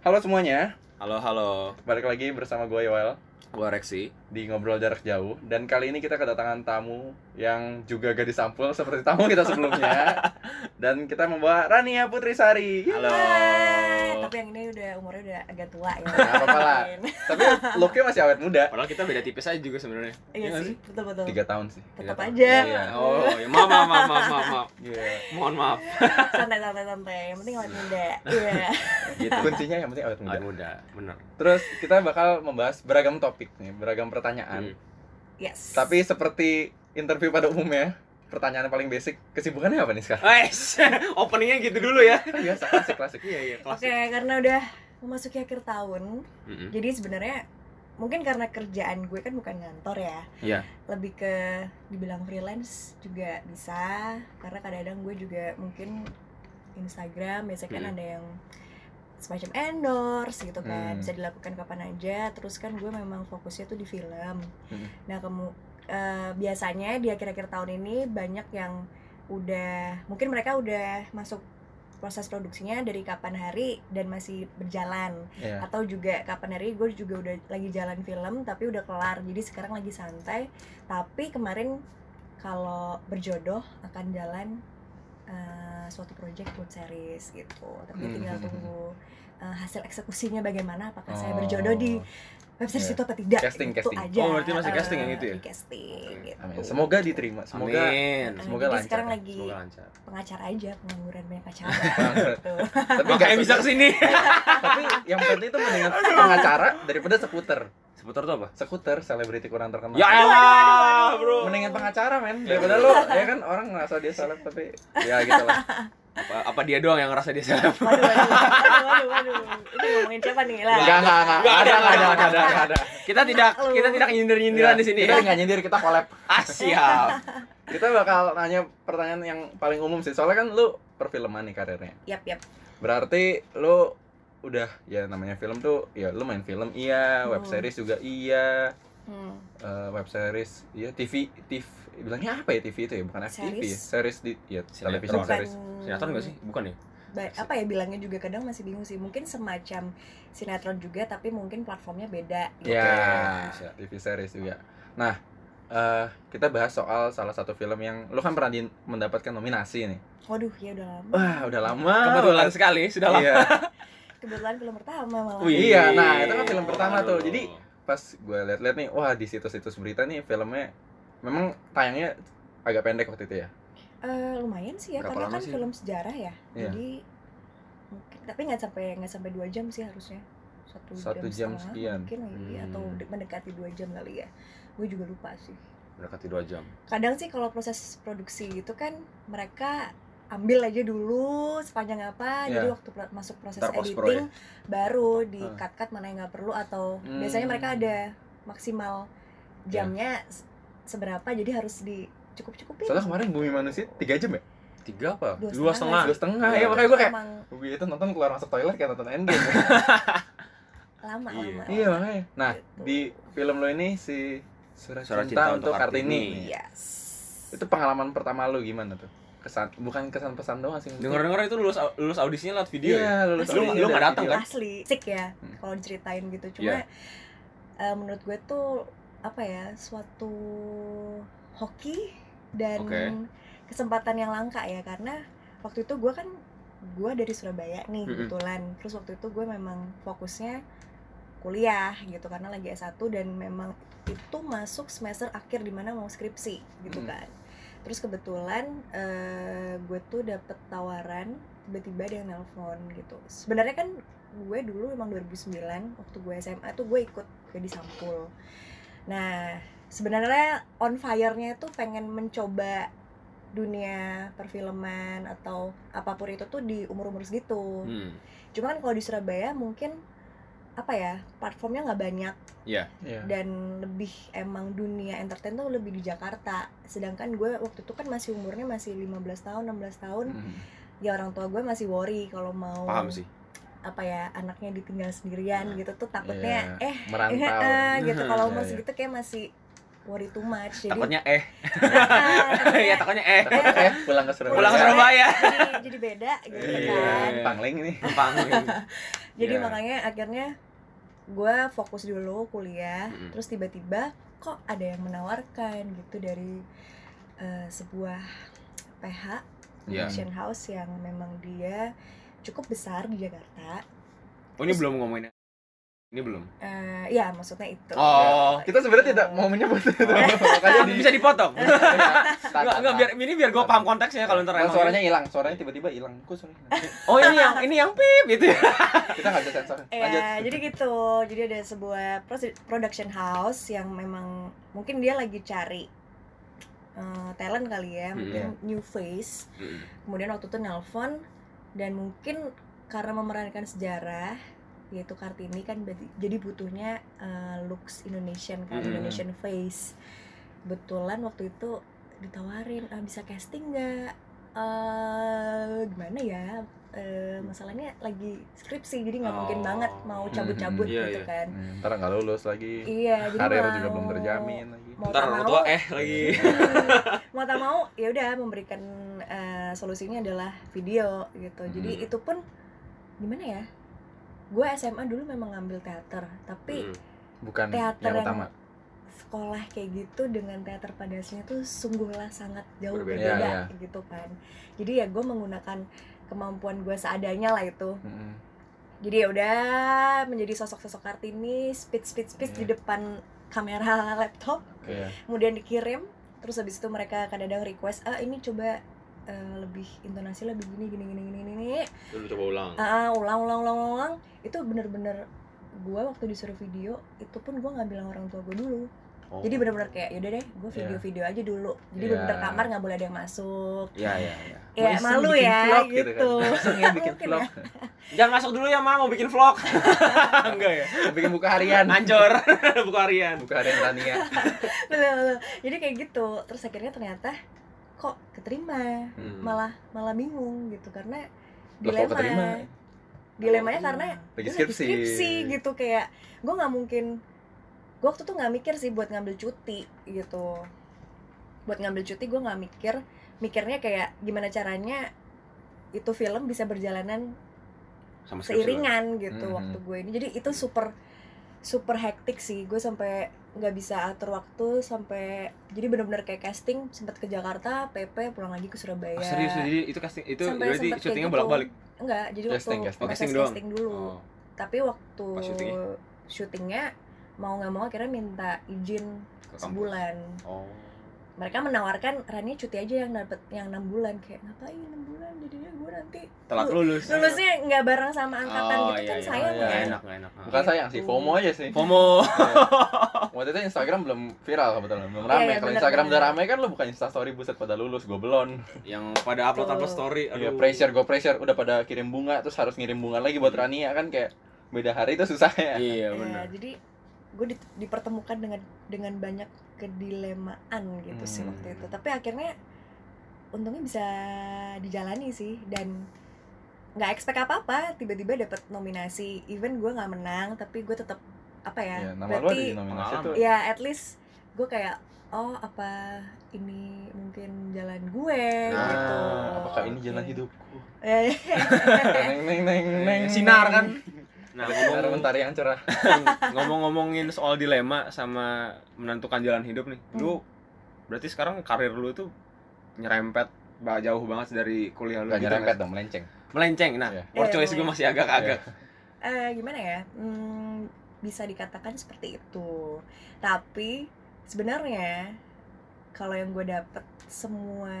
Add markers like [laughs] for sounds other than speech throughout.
Halo semuanya, Halo, halo. balik lagi bersama gue Yoel Gua Rexi. di Ngobrol Jarak Jauh Dan kali ini kita kedatangan tamu yang juga gadis sampul seperti tamu kita [laughs] sebelumnya Dan kita membawa Rania Putri Sari Halo. Hai, Tapi yang ini udah umurnya udah agak tua ya. Nggak apa-apa lah. Tapi looknya masih awet muda Padahal kita beda tipis aja juga sebenarnya. Iya nggak sih, betul betul. Tiga tahun sih Tetap Iya, aja. iya. Oh, ya maaf, maaf, maaf, maaf, maaf, maaf. Iya. Mohon maaf. Santai santai santai. Yang penting awet [laughs] muda. Iya. Gitu. Kuncinya yang penting awet muda Awet muda, bener. Terus kita bakal membahas beragam topik nih, beragam pertanyaan Hmm. Yes. Tapi seperti interview pada umumnya Pertanyaan paling basic, kesibukannya apa nih sekarang? Wes, [laughs] openingnya gitu dulu ya. Kan biasa, klasik, klasik Iya, iya, Oke, karena udah memasuki akhir tahun, Mm-mm. jadi sebenarnya mungkin karena kerjaan gue kan bukan kantor ya. Iya. Lebih ke dibilang freelance juga bisa, karena kadang-kadang gue juga mungkin Instagram biasanya kan Hmm. ada yang semacam endorse gitu kan Mm. Hmm. bisa dilakukan kapan aja terus kan gue memang fokusnya tuh di film Hmm. nah kamu eh, biasanya di akhir-akhir tahun ini banyak yang udah mungkin mereka udah masuk proses produksinya dari kapan hari dan masih berjalan Iya. atau juga kapan hari gue juga udah lagi jalan film tapi udah kelar jadi sekarang lagi santai tapi kemarin kalau berjodoh akan jalan eh, suatu project buat series gitu tapi Hmm. [laughs] tinggal tunggu eh, hasil eksekusinya bagaimana apakah saya Oh. berjodoh di web series Iya. itu apa tidak Casting, itu casting. aja Oh, berarti masih Eh, casting yang itu ya? di casting Oke. gitu. Amin. Semoga diterima. Semoga Amin. Eh, semoga jadi lancar. sekarang lagi Semoga lancar. pengacara aja pengangguran [laughs] banyak acara gitu. tapi Makanya nggak bisa sukses. kesini. tapi yang penting itu mendingan pengacara daripada sekuter Seputar tuh apa? sekuter selebriti kurang terkenal Ya aduh, elah, aduh. bro. mendingan pengacara men daripada lo ya kan orang ngerasa dia seleb tapi ya gitu [laughs] lah Apa, apa dia doang yang ngerasa dia seleb? waduh waduh waduh waduh waduh. ini ngomongin siapa nih lah enggak enggak enggak Nggak Ah, ada enggak ada ada, nggak ada, enggak ada nggak ada Kita tidak Lu. kita tidak nyindir-nyindiran di sini. Ya, ya. kita nggak nyindir kita collab Ah, siap. kita bakal nanya pertanyaan yang paling umum sih soalnya kan lu perfilman nih karirnya yap yap berarti lu udah ya namanya film tuh ya lu main film iya web Hmm. series juga iya Hmm. eh, web series iya TV TV bilangnya apa ya TV itu ya bukan FTV ya Series. series di ya Sinetron. television Bukan. series Sinetron nggak sih? Bukan ya? ba- apa ya bilangnya juga kadang masih bingung sih mungkin semacam sinetron juga tapi mungkin platformnya beda gitu. ya bisa. TV series juga nah eh kita bahas soal salah satu film yang lu kan pernah di- mendapatkan nominasi nih waduh ya udah lama wah udah lama Kebetulan Ah, sekali, sudah lama. iya kebetulan film pertama malah Wih. Iya, nah, itu kan film pertama tuh. Jadi, [laughs] pas gue liat-liat nih wah di situs-situs berita nih filmnya memang tayangnya agak pendek waktu itu ya Eh, lumayan sih ya Berapa karena lama kan sih? film sejarah ya Iya. jadi mungkin tapi nggak sampai nggak sampai dua jam sih harusnya satu, Satu jam jam, setengah sekian. mungkin maybe, Hmm. atau de- mendekati dua jam kali ya gue juga lupa sih mendekati 2 jam. kadang sih kalau proses produksi itu kan mereka ambil aja dulu sepanjang apa Iya. jadi ya? waktu pro- masuk proses Ntar post pro editing baru di Hmm. cut cut mana yang nggak perlu atau Hmm. Iya. biasanya mereka ada maksimal jamnya se- seberapa jadi harus di cukup cukupin soalnya kemarin Bumi Manusia 3 jam ya 3 apa? Dua dua 2 setengah. setengah. setengah ya Iya. makanya gue [laughs] kayak emang gue itu nonton keluar masuk toilet kayak nonton Endgame lama Iya. lama [laughs] iya makanya nah Gitu. di film lo ini si Surat, Surat Cinta, Cinta untuk untuk Kartini. yes Itu pengalaman pertama lo gimana tuh? Kesan bukan kesan pesan doang sih. maksudnya. Dengar-dengar itu lulus lulus audisinya lewat video ya? Iya, lu Lu- lu nggak datang, Iya. kan? Iya. asli sik ya Hmm. kalau diceritain gitu cuma eh, menurut gue tuh apa ya suatu hoki dan Oke. kesempatan yang langka ya karena waktu itu gue kan gue dari Surabaya Mm-mm. nih kebetulan terus waktu itu gue memang fokusnya kuliah gitu karena lagi S1 dan memang itu masuk semester akhir dimana mau skripsi gitu Mm. kan terus kebetulan eh, gue tuh dapet tawaran tiba-tiba ada yang nelpon gitu sebenarnya kan gue dulu emang 2009 waktu gue SMA tuh gue ikut jadi sampul nah sebenarnya on fire-nya tuh pengen mencoba dunia perfilman atau apapun itu tuh di umur-umur segitu Hmm. cuman kalau di Surabaya mungkin apa ya platformnya nggak banyak Iya. dan lebih emang dunia entertain tuh lebih di Jakarta sedangkan gue waktu itu kan masih umurnya masih 15 tahun 16 tahun Mm. ya orang tua gue masih worry kalau Hmm. mau Paham sih. apa ya anaknya ditinggal sendirian Hmm. gitu tuh takutnya eh eh, Merantau. eh, gitu kalau Iya, umur iya. segitu kayak masih worry too much jadi [laughs] Takutnya eh. [laughs] Nah, takutnya- Iya, takutnya eh. Takut eh pulang ke Surabaya. Pulang ke Surabaya. jadi, jadi beda gitu kan Iya. Pangling ini. Pangling. jadi Iya. makanya akhirnya gue fokus dulu kuliah Mm-mm. terus tiba-tiba kok ada yang menawarkan gitu dari eh, sebuah PH Iya. production house yang memang dia cukup besar di Jakarta Oh, ini belum ngomongin. Ini belum. Eh, ya maksudnya itu Oh. Kita sebenarnya tidak mau menyebut itu. Eh. Makanya di Iya, Bisa dipotong. Enggak, Enggak, enggak biar ini biar gue paham konteksnya kalau ntar emang- suaranya hilang, suaranya tiba-tiba hilang. Kok suaranya? hilang? Oh, ini yang ini yang pip gitu ya? itu. Kita enggak bisa sensor. Lanjut. Ya, [laughs] jadi gitu. Jadi ada sebuah pros- production house yang memang mungkin dia lagi cari eh, talent kali ya, mungkin new face. Hmm, Kemudian waktu itu nelpon dan mungkin karena memerankan sejarah yaitu Kartini kan berarti- jadi butuhnya eh, looks Indonesian kan, Hmm. Mm. Indonesian face. Kebetulan waktu itu ditawarin "Ah, bisa casting nggak? Eh, gimana ya? Eh, masalahnya lagi skripsi jadi nggak mungkin Oh. banget mau cabut-cabut Mhm, iya, gitu iya. kan Hmm, Ntar enggak lulus lagi. iya jadi Karir mau, juga belum terjamin lagi. Iya. mau Ntar tak orang mau tua eh lagi. Hmm, mau tak mau ya udah memberikan eh, solusinya adalah video gitu jadi Hmm. itu pun gimana ya gue SMA dulu memang ngambil teater tapi Mm. Bukan Teater yang yang- utama. sekolah kayak gitu dengan teater pada aslinya tuh sungguhlah sangat jauh Berbeda. berbeda Iya, gitu kan jadi ya gue menggunakan kemampuan gue seadanya lah itu Mm-mm. jadi ya udah menjadi sosok-sosok kartini speech speech speech di Iya. depan kamera laptop Iya. kemudian dikirim terus habis itu mereka kadang-kadang request ah ini coba eh, lebih intonasi lebih gini gini gini gini gini Dulu coba ulang. Ah, ah, ulang ulang ulang ulang itu bener-bener gue waktu disuruh video itu pun gue nggak bilang orang tua gue dulu Oh. jadi bener-bener kayak yaudah deh gue Iya. video-video aja dulu jadi Iya. bener-bener kamar nggak boleh ada yang masuk Iya, iya, iya. Mau ya iseng malu bikin ya vlog gitu, kan. [laughs] Iseng ya bikin Mungkin vlog. Jangan masuk dulu ya, Ma, mau bikin vlog. [laughs] Enggak ya? Bikin buka harian. Ancur, [laughs] buku harian. Buka harian Rania. [laughs] Betul, betul. jadi kayak gitu terus akhirnya ternyata kok keterima Hmm. malah malah bingung gitu karena Lah, kok dilema ya. keterima? dilemanya Kalau karena Lagi gua skripsi. gitu kayak gue nggak mungkin gue waktu tuh nggak mikir sih buat ngambil cuti gitu buat ngambil cuti gue nggak mikir mikirnya kayak gimana caranya itu film bisa berjalanan Sama skripsi seiringan gitu Mhm. Hmm, waktu gue ini jadi itu super super hektik sih gue sampai nggak bisa atur waktu sampai jadi bener-bener kayak casting sempat ke Jakarta PP pulang lagi ke Surabaya Oh, serius jadi itu casting itu Iya. Sampai berarti sempet kayak syutingnya gitu. bolak-balik. enggak jadi Casting, waktu casting. proses Casting doang. casting dulu Oh. tapi waktu Pas syutingnya? syutingnya mau nggak mau akhirnya minta izin ke kampus. sebulan Oh. mereka menawarkan Rani cuti aja yang dapat yang enam bulan kayak ngapain enam bulan jadinya gue nanti Telat lulus. lulusnya nggak bareng sama angkatan Oh, gitu iya, kan iya. Oh, sayang iya, Nggak ya enak, nggak enak. Bukan sayang sih, FOMO aja sih. FOMO. Iya. Waktu itu Instagram belum viral kebetulan, belum Iya, rame. iya, Kalau benar, Instagram benar. udah rame kan lu bukan Instastory buset pada lulus, goblon. Yang pada upload-upload Tuh. story. Iya, aduh. pressure, go pressure. Udah pada kirim bunga, terus harus ngirim bunga lagi Iya. buat Rania kan kayak beda hari itu susah ya. Iya, Ya, benar. jadi gue di- dipertemukan dengan dengan banyak kedilemaan gitu sih Hmm. waktu itu tapi akhirnya untungnya bisa dijalani sih dan nggak expect apa apa tiba-tiba dapet nominasi even gue nggak menang tapi gue tetap apa Iya, ya, nama lu ada di berarti nominasi pengalaman. tuh. ya at least gue kayak oh apa ini mungkin jalan gue Nah, gitu apakah ini jalan Oke. Iya, hidupku? Eh, [laughs] neng neng neng neng. Sinar kan? Nah, Sinar ngomong, mentari yang cerah. ngomong-ngomongin soal dilema sama menentukan jalan hidup nih. Hmm. Lu berarti sekarang karir lu itu nyerempet ba- jauh banget dari kuliah lu Gak gitu nggak nyerempet dong, melenceng. sih? Melenceng. Nah, Iya. word choice Iya, gue masih agak-agak. eh, gimana ya Hmm, bisa dikatakan seperti itu tapi sebenarnya kalau yang gue dapet semua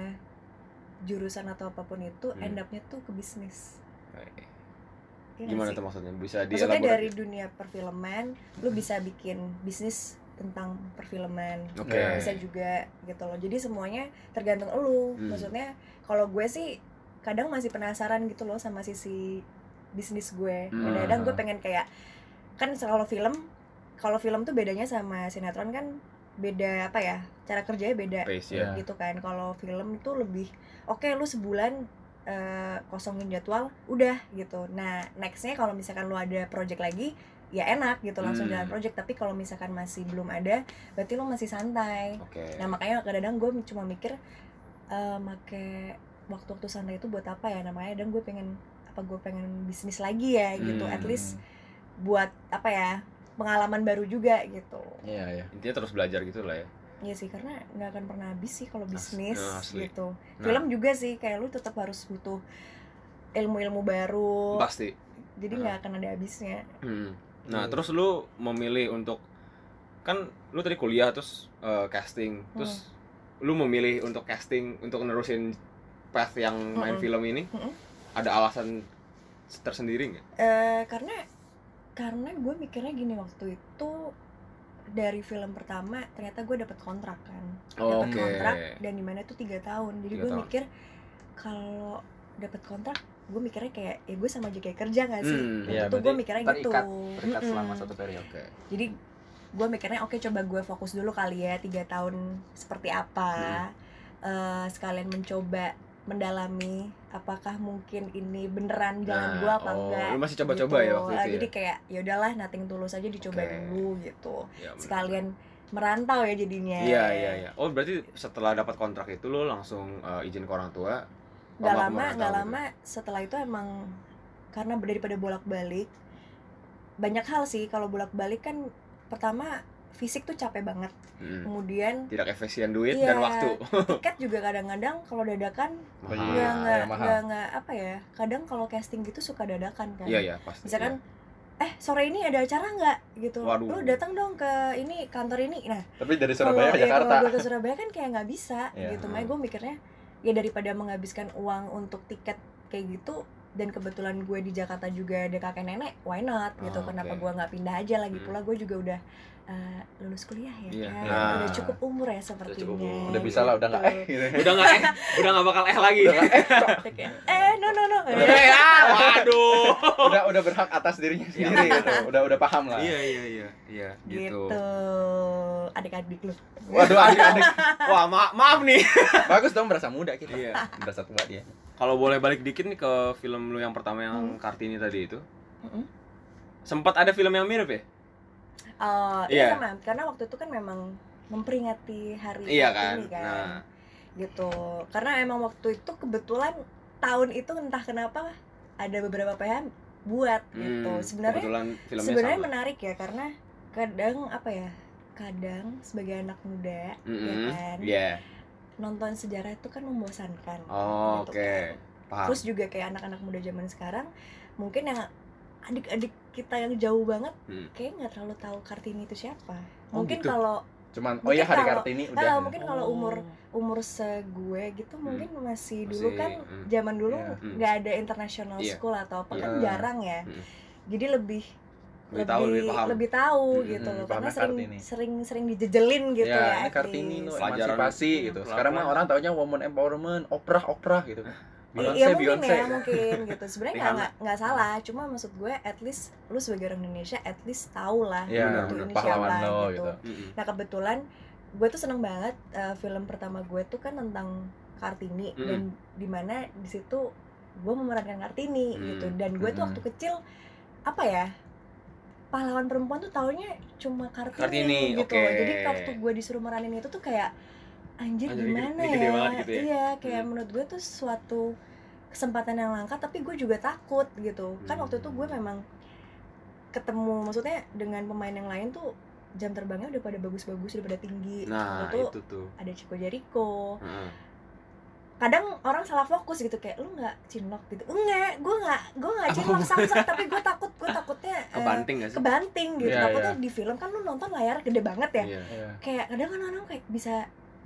jurusan atau apapun itu Hmm. end up-nya tuh ke bisnis Iya nggak Gimana sih? tuh maksudnya? Bisa maksudnya dari dielaborasi? dunia perfilman Hmm. lu bisa bikin bisnis tentang perfilman Oke. Iya. bisa juga gitu loh jadi semuanya tergantung lu Hmm. maksudnya kalau gue sih kadang masih penasaran gitu loh sama sisi bisnis gue Hmm. kadang-kadang gue pengen kayak kan kalau film kalau film tuh bedanya sama sinetron kan beda apa ya cara kerjanya beda Pace Iya. ya. gitu kan kalau film tuh lebih oke lu sebulan eh, kosongin jadwal udah gitu nah nextnya kalau misalkan lu ada project lagi ya enak gitu langsung Hmm. jalan project tapi kalau misalkan masih belum ada berarti lo masih santai Oke. Nah makanya kadang-kadang gue cuma mikir eh make waktu-waktu santai itu buat apa ya namanya dan gue pengen apa gue pengen bisnis lagi ya gitu at Hmm. least buat apa ya pengalaman baru juga gitu Iya, iya. Intinya terus belajar gitu lah ya. Iya sih karena nggak akan pernah habis sih kalau bisnis nah, asli. gitu Nah. film juga sih kayak lu tetap harus butuh ilmu-ilmu baru Pasti. jadi Nah. nggak akan ada habisnya Hmm. Nah, Hmm. terus lu memilih untuk kan lu tadi kuliah terus eh, casting, Hmm. terus lu memilih untuk casting untuk nerusin path yang main Mm-mm. film ini. Mm-mm. Ada alasan tersendiri nggak? eh karena karena gue mikirnya gini waktu itu dari film pertama ternyata gue dapet kontrak kan Oh, Dapet oke. kontrak dan dimana itu tiga tahun jadi Tiga gue tahun. mikir kalau dapet kontrak gue mikirnya kayak ya gue sama aja kayak kerja gak sih Hmm, Waktu iya, itu gue berarti mikirnya gitu terikat, Terikat Mm-mm. selama satu periode. Oke. jadi gue mikirnya oke coba gue fokus dulu kali ya tiga tahun seperti Hmm. apa Eh, sekalian mencoba mendalami apakah mungkin ini beneran jalan Nah, gue apa oh, enggak Lu masih coba-coba gitu. ya waktu Ah, itu. jadi ya? kayak ya udahlah nating tulus aja dicoba Oke. dulu gitu Ya, bener. sekalian merantau ya jadinya Iya, iya, iya. Oh, berarti setelah dapat kontrak itu lu langsung eh, izin ke orang tua. nggak Lama lama merantau nggak gitu. lama setelah itu emang karena daripada bolak balik banyak hal sih kalau bolak balik kan pertama fisik tuh capek banget Hmm. kemudian Tidak efisien duit Iya. dan waktu. tiket juga kadang-kadang kalau dadakan Iya, Mahal. nggak nggak ya, mahal. nggak nggak apa ya kadang kalau casting gitu suka dadakan kan Iya, iya, pasti. misalkan Iya. eh sore ini ada acara nggak gitu Waduh. lu datang dong ke ini kantor ini nah Tapi dari Surabaya ke kalau, ya, Jakarta. kalau gue ke Surabaya kan kayak nggak bisa Iya. gitu makanya gue mikirnya ya daripada menghabiskan uang untuk tiket kayak gitu dan kebetulan gue di Jakarta juga ada kakek nenek why not Ah, gitu Oh, kenapa oke. gue nggak pindah aja lagi Hmm. pula gue juga udah eh, lulus kuliah ya Iya. kan? Nah. udah cukup umur ya sepertinya cukup umur. Udah bisa lah, [laughs] udah nggak eh gitu. udah nggak eh udah nggak bakal eh lagi Udah nggak eh. Gitu. eh no no no Eh, ah, waduh Udah udah berhak atas dirinya sendiri gitu. Udah udah paham lah. iya iya iya iya gitu gitu adik-adik lu Waduh adik-adik. wah ma- maaf nih Bagus dong berasa muda kita. iya Berasa tua dia. kalau boleh balik dikit nih ke film lu yang pertama yang Hmm. kartini tadi itu Mm-mm. sempat ada film yang mirip ya Eh, Iya. iya sama karena waktu itu kan memang memperingati hari iya Kartini kan nah gitu karena emang waktu itu kebetulan tahun itu entah kenapa ada beberapa PH buat gitu hmm, sebenarnya kebetulan filmnya sebenarnya sama menarik ya karena kadang apa ya kadang sebagai anak muda ya Mm-mm. kan Iya. nonton sejarah itu kan membosankan Oh, gitu oke. kan. paham terus juga kayak anak-anak muda zaman sekarang mungkin yang adik-adik kita yang jauh banget Hmm. kayak nggak terlalu tahu kartini itu siapa Oh, mungkin gitu. kalau Cuman oh Mungkin ya hari kalau- Kartini udah. ah, mungkin kalau Oh. umur umur segue gitu mungkin masih Hmm. dulu Masih, kan mm. zaman dulu Iya. Mm. nggak ada international Iya. school atau apa kan Iya. jarang ya Mm. jadi lebih lebih tahu lebih paham lebih tahu Mm, gitu mm, loh pahamnya karena sering Kartini. sering sering dijejelin gitu Iya, ya, ya, ini at Kartini least. lo Pelajaran. emansipasi gitu. Sekarang mah Pelajaran. orang taunya woman empowerment, oprah oprah gitu. I- Beyonce Iya mungkin Beyonce. ya mungkin gitu sebenarnya nggak Rihanna. nggak- nggak salah cuma maksud gue at least lu sebagai orang Indonesia at least tau lah Iya, gitu, bener, ini pahlawan siapa, lo gitu. gitu. Mm-mm. nah kebetulan gue tuh seneng banget eh, film pertama gue tuh kan tentang Kartini Mm-mm. dan dimana di situ gue memerankan Kartini Mm, gitu dan gue tuh mm-mm. waktu kecil apa ya pahlawan perempuan tuh taunya cuma Kartini, Kartini, gitu oke. jadi waktu gue disuruh meranin itu tuh kayak anjir Anjir, ini gede- gimana ini gede banget ya gitu ya? iya kayak Mm. menurut gue tuh suatu kesempatan yang langka tapi gue juga takut gitu kan waktu itu gue Hmm. memang ketemu maksudnya dengan pemain yang lain tuh jam terbangnya udah pada bagus-bagus udah pada tinggi nah Waktu itu Eh, itu tuh ada Chico Jericho Heeh. kadang orang salah fokus gitu kayak lu nggak cinlok gitu enggak gue nggak gue nggak cinlok samsak tapi gue takut gue takutnya eh, kebanting gak sih kebanting gitu Iya, takutnya iya. di film kan lu nonton layar gede banget ya Iya. Iya. kayak kadang kan orang kayak bisa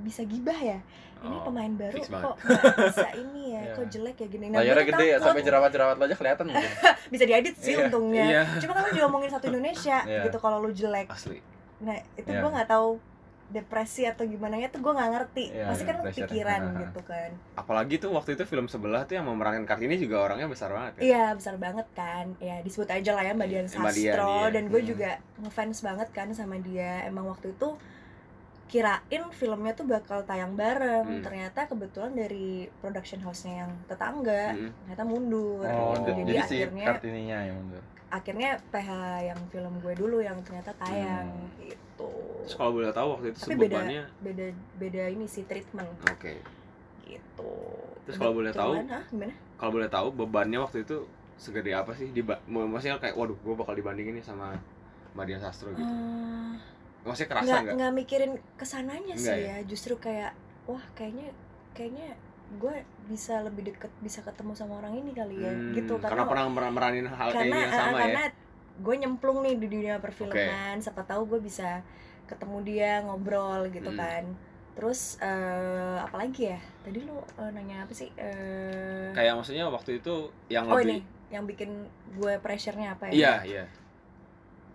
bisa gibah ya ini Oh. pemain baru fix kok banget. nggak bisa ini [laughs] ya Iya. kok jelek ya gini gua Layarnya tuh gede ya takut. sampai jerawat-jerawat lo aja kelihatan mungkin. bisa diedit sih Iya. untungnya Iya, cuma kan lu diomongin satu Indonesia [laughs] Iya. gitu kalau lu jelek asli. nah itu Iya. gua nggak tahu depresi atau gimana ya tuh gue nggak ngerti Iya, pasti kan lu pressure. pikiran Aha. gitu kan Apalagi tuh waktu itu film sebelah tuh yang memerankan Kartini juga orangnya besar banget ya. iya besar banget kan ya disebut aja lah ya Mbak Dian Mbak Dian, Sastro iya. dan gue Hmm. juga ngefans banget kan sama dia emang waktu itu kirain filmnya tuh bakal tayang bareng Hmm. ternyata kebetulan dari production house-nya yang tetangga Mm-mm. ternyata mundur Oh, Iya. Oh. jadi, jadi, jadi si akhirnya kartininya yang mundur. akhirnya PH yang film gue dulu yang ternyata tayang Hmm. gitu Terus kalau boleh tahu waktu itu Tapi beda. sebutannya beda beda ini sih treatment Oke. gitu Terus kalau boleh tahu- Kebetulan, hah, gimana Kalau boleh tahu bebannya waktu itu segede apa sih? Diba mau- maksudnya kayak waduh, gue bakal dibandingin nih sama Marian Sastro gitu. Eh, Maksudnya nggak kerasa nggak? nggak mikirin kesananya Nggak sih ya. justru kayak wah kayaknya kayaknya gue bisa lebih deket bisa ketemu sama orang ini kali ya Hmm, gitu karena, karena pernah mer- meranin hal kayak karena ini yang sama eh, ya. karena gue nyemplung nih di dunia perfilman siapa tahu gue bisa ketemu dia ngobrol gitu Hmm. kan terus eh, apalagi ya tadi lu eh, nanya apa sih Eh, Kayak maksudnya waktu itu yang oh lebih ini yang bikin gue pressure-nya apa ya Iya, iya.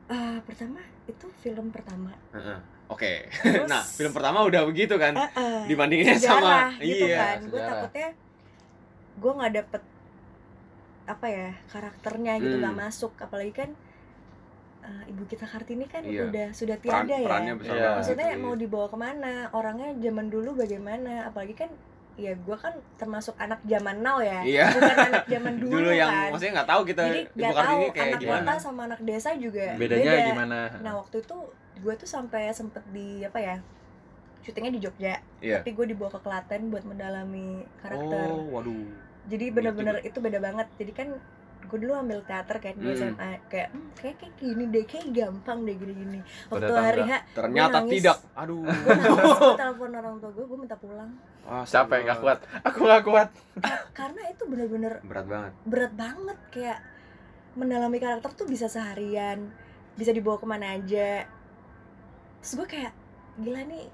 Eh, pertama itu film pertama Heeh. Oke. Terus- nah, film pertama udah begitu kan? Eh, eh. Dibandinginnya sama sejarah gitu iya. kan gue sejarah. takutnya gue nggak dapet apa ya karakternya gitu Hmm. nggak masuk apalagi kan eh, ibu kita kartini kan Iya. udah sudah Peran, tiada perannya ya besar Iya. banget. maksudnya gitu. mau dibawa kemana orangnya zaman dulu bagaimana apalagi kan ya gue kan termasuk anak zaman now ya Iya. bukan anak [laughs] zaman dulu, dulu yang kan maksudnya nggak tahu kita jadi Ibu nggak tahu Kartini kayak anak gimana. kota sama anak desa juga Bedanya beda. gimana? Nah waktu itu gue tuh sampai sempet di apa ya syutingnya di Jogja, Iya. tapi gue dibawa ke Klaten buat mendalami Oh, karakter. waduh. Jadi gitu. bener-bener itu beda banget. Jadi kan gue dulu ambil teater kan di Hmm. SMA kayak "Hmm, kayak kayak gini deh, kayak gampang deh gini-gini. Pada Waktu hari H, Ternyata nangis. tidak. Aduh. gue nangis, gue telepon orang tua gue, gue minta pulang. Ah, Capek, gak serem banget. kuat. Aku gak kuat. Karena itu bener-bener Berat banget. berat banget kayak mendalami karakter tuh bisa seharian bisa dibawa kemana aja terus gue kayak gila nih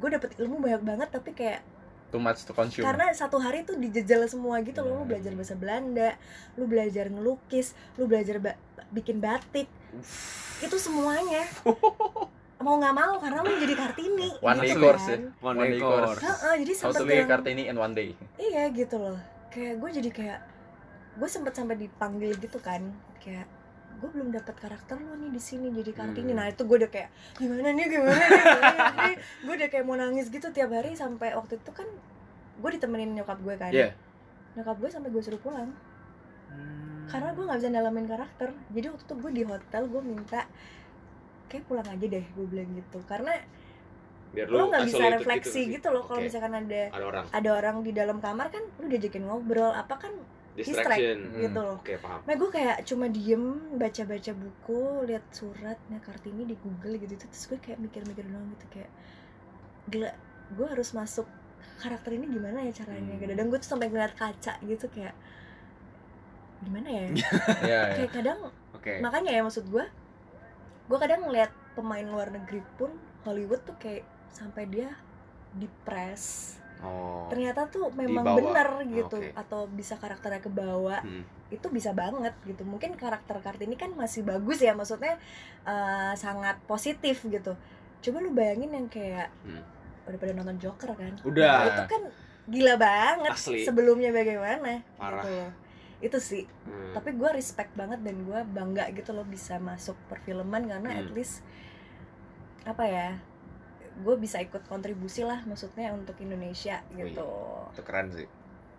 gue dapet ilmu banyak banget tapi kayak Too much to consume. karena satu hari tuh dijejel semua gitu loh lu Hmm. belajar bahasa Belanda lu belajar ngelukis lu belajar ba- bikin batik itu [laughs] semuanya mau nggak mau karena lu jadi kartini One day gitu course kan. One day day course. course. Heeh, jadi How to be sempet a yang- Kartini in one day. iya gitu loh kayak gue jadi kayak gue sempet sampai dipanggil gitu kan kayak gue belum dapat karakter lo nih di sini jadi kartini Hmm. nah itu gue udah kayak gimana nih gimana nih, gimana [laughs] nih?" gue udah kayak mau nangis gitu tiap hari sampai waktu itu kan gue ditemenin nyokap gue kan Iya. nyokap gue sampai gue suruh pulang karena gue nggak bisa dalamin karakter jadi waktu itu gue di hotel gue minta kayak pulang aja deh gue bilang gitu karena Biar lo nggak bisa isolated refleksi sih. gitu, loh kalau Oke. misalkan ada ada orang ada orang di dalam kamar kan lu diajakin ngobrol apa kan distraction. Hmm. gitu loh Oke, paham. Nah gue kayak cuma diem baca-baca buku, lihat suratnya Kartini di Google gitu gitu terus gue kayak mikir-mikir doang gitu kayak gila gue harus masuk karakter ini gimana ya caranya Hmm. kadang gue tuh sampai ngeliat kaca gitu kayak gimana ya Iya, iya. kayak kadang Oke. makanya ya maksud gue gue kadang ngeliat pemain luar negeri pun Hollywood tuh kayak sampai dia dipres Oh. ternyata tuh memang Dibawa. bener gitu Oke. atau bisa karakternya kebawa Hmm. itu bisa banget gitu mungkin karakter kartini kan masih bagus ya maksudnya eh, sangat positif gitu coba lu bayangin yang kayak Hmm. udah pada nonton Joker kan Udah. itu kan gila banget Asli. sebelumnya bagaimana Parah. gitu loh itu sih Hmm. tapi gue respect banget dan gue bangga gitu loh bisa masuk perfilman karena Hmm. at least apa ya gue bisa ikut kontribusi lah maksudnya untuk Indonesia Oh gitu itu keren sih.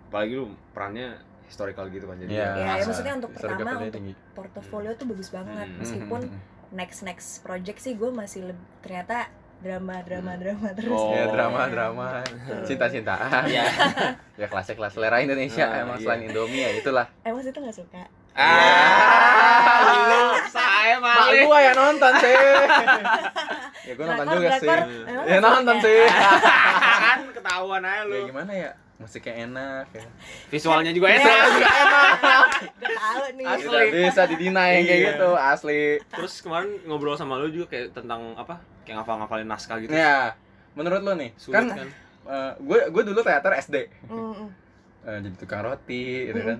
Apalagi lu perannya historical gitu kan jadi. Iya. Ya, ya, masa maksudnya untuk historical pertama, value untuk- tinggi. portofolio tuh bagus banget Hmm. meskipun Mhm. next next project sih gue masih leb- ternyata drama drama Hmm. drama terus Oh. Ya gitu. drama drama cinta-cintaan Iya. ya klasik kelas selera Indonesia Nah, Ah, emang iya. selain Indomie ya itulah Iya. emang itu Eh, nggak suka Ah, lu saya mak malu. gua yang nonton sih [laughs] ya gua nonton juga sih Drakor, eh, emang ya nggak suka? nonton [laughs] sih kan ketahuan aja ya lu. gimana ya musiknya enak ya. Visualnya juga Ya. enak. [laughs] Nggak tahu nih Asli. tidak bisa didinain kayak Iya. gitu asli Terus kemarin ngobrol sama lu juga kayak tentang apa? Kayak ngafal-ngafalin naskah gitu. ya menurut lo nih Sulit kan kan? eh, gue gue dulu teater SD Mm-mm. Eh, jadi tukang roti gitu kan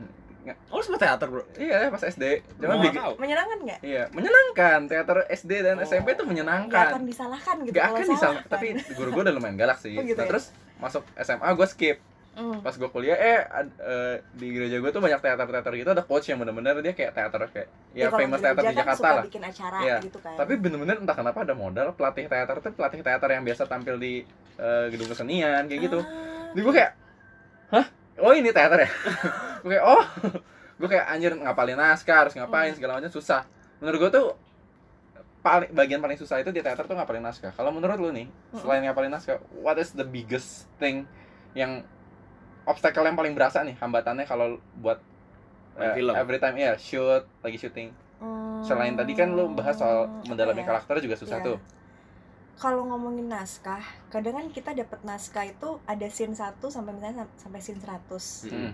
Oh, lu sempat teater, Bro. iya pas SD Gua cuma nggak bikin tahu. menyenangkan nggak iya menyenangkan teater SD dan Oh. SMP tuh nggak akan menyenangkan disalahkan gitu gak kalau akan salah, bisa kan? tapi guru gue udah lumayan galak sih Oh gitu nah ya? terus masuk SMA gue skip Mm. pas gue kuliah eh ad- eh, di gereja gue tuh banyak teater teater gitu ada coach yang bener-bener dia kayak teater kayak ya, kalau famous gereja teater di kan Jakarta suka lah bikin acara Iya. gitu kan. tapi bener-bener entah kenapa ada modal pelatih teater tuh pelatih teater yang biasa tampil di eh, gedung kesenian kayak gitu Ah, Jadi gue kayak, hah? Oh ini teater ya? [laughs] gue kayak, oh. [laughs] gue kayak anjir ngapalin naskah, harus Hmm. ngapain segala macam susah. Menurut gue tuh paling bagian paling susah itu di teater tuh ngapalin naskah. Kalau menurut lu nih, Hmm. selain ngapalin naskah, what is the biggest thing yang obstacle yang paling berasa nih hambatannya kalau buat Main eh, film. every time ya shoot lagi syuting. mm, Selain tadi kan lu bahas soal apa mendalami ya? karakter juga susah Iya. tuh. Kalau ngomongin naskah, kadang kan kita dapat naskah itu ada scene 1 sampai misalnya sam- sampai scene 100. Mm. Mm.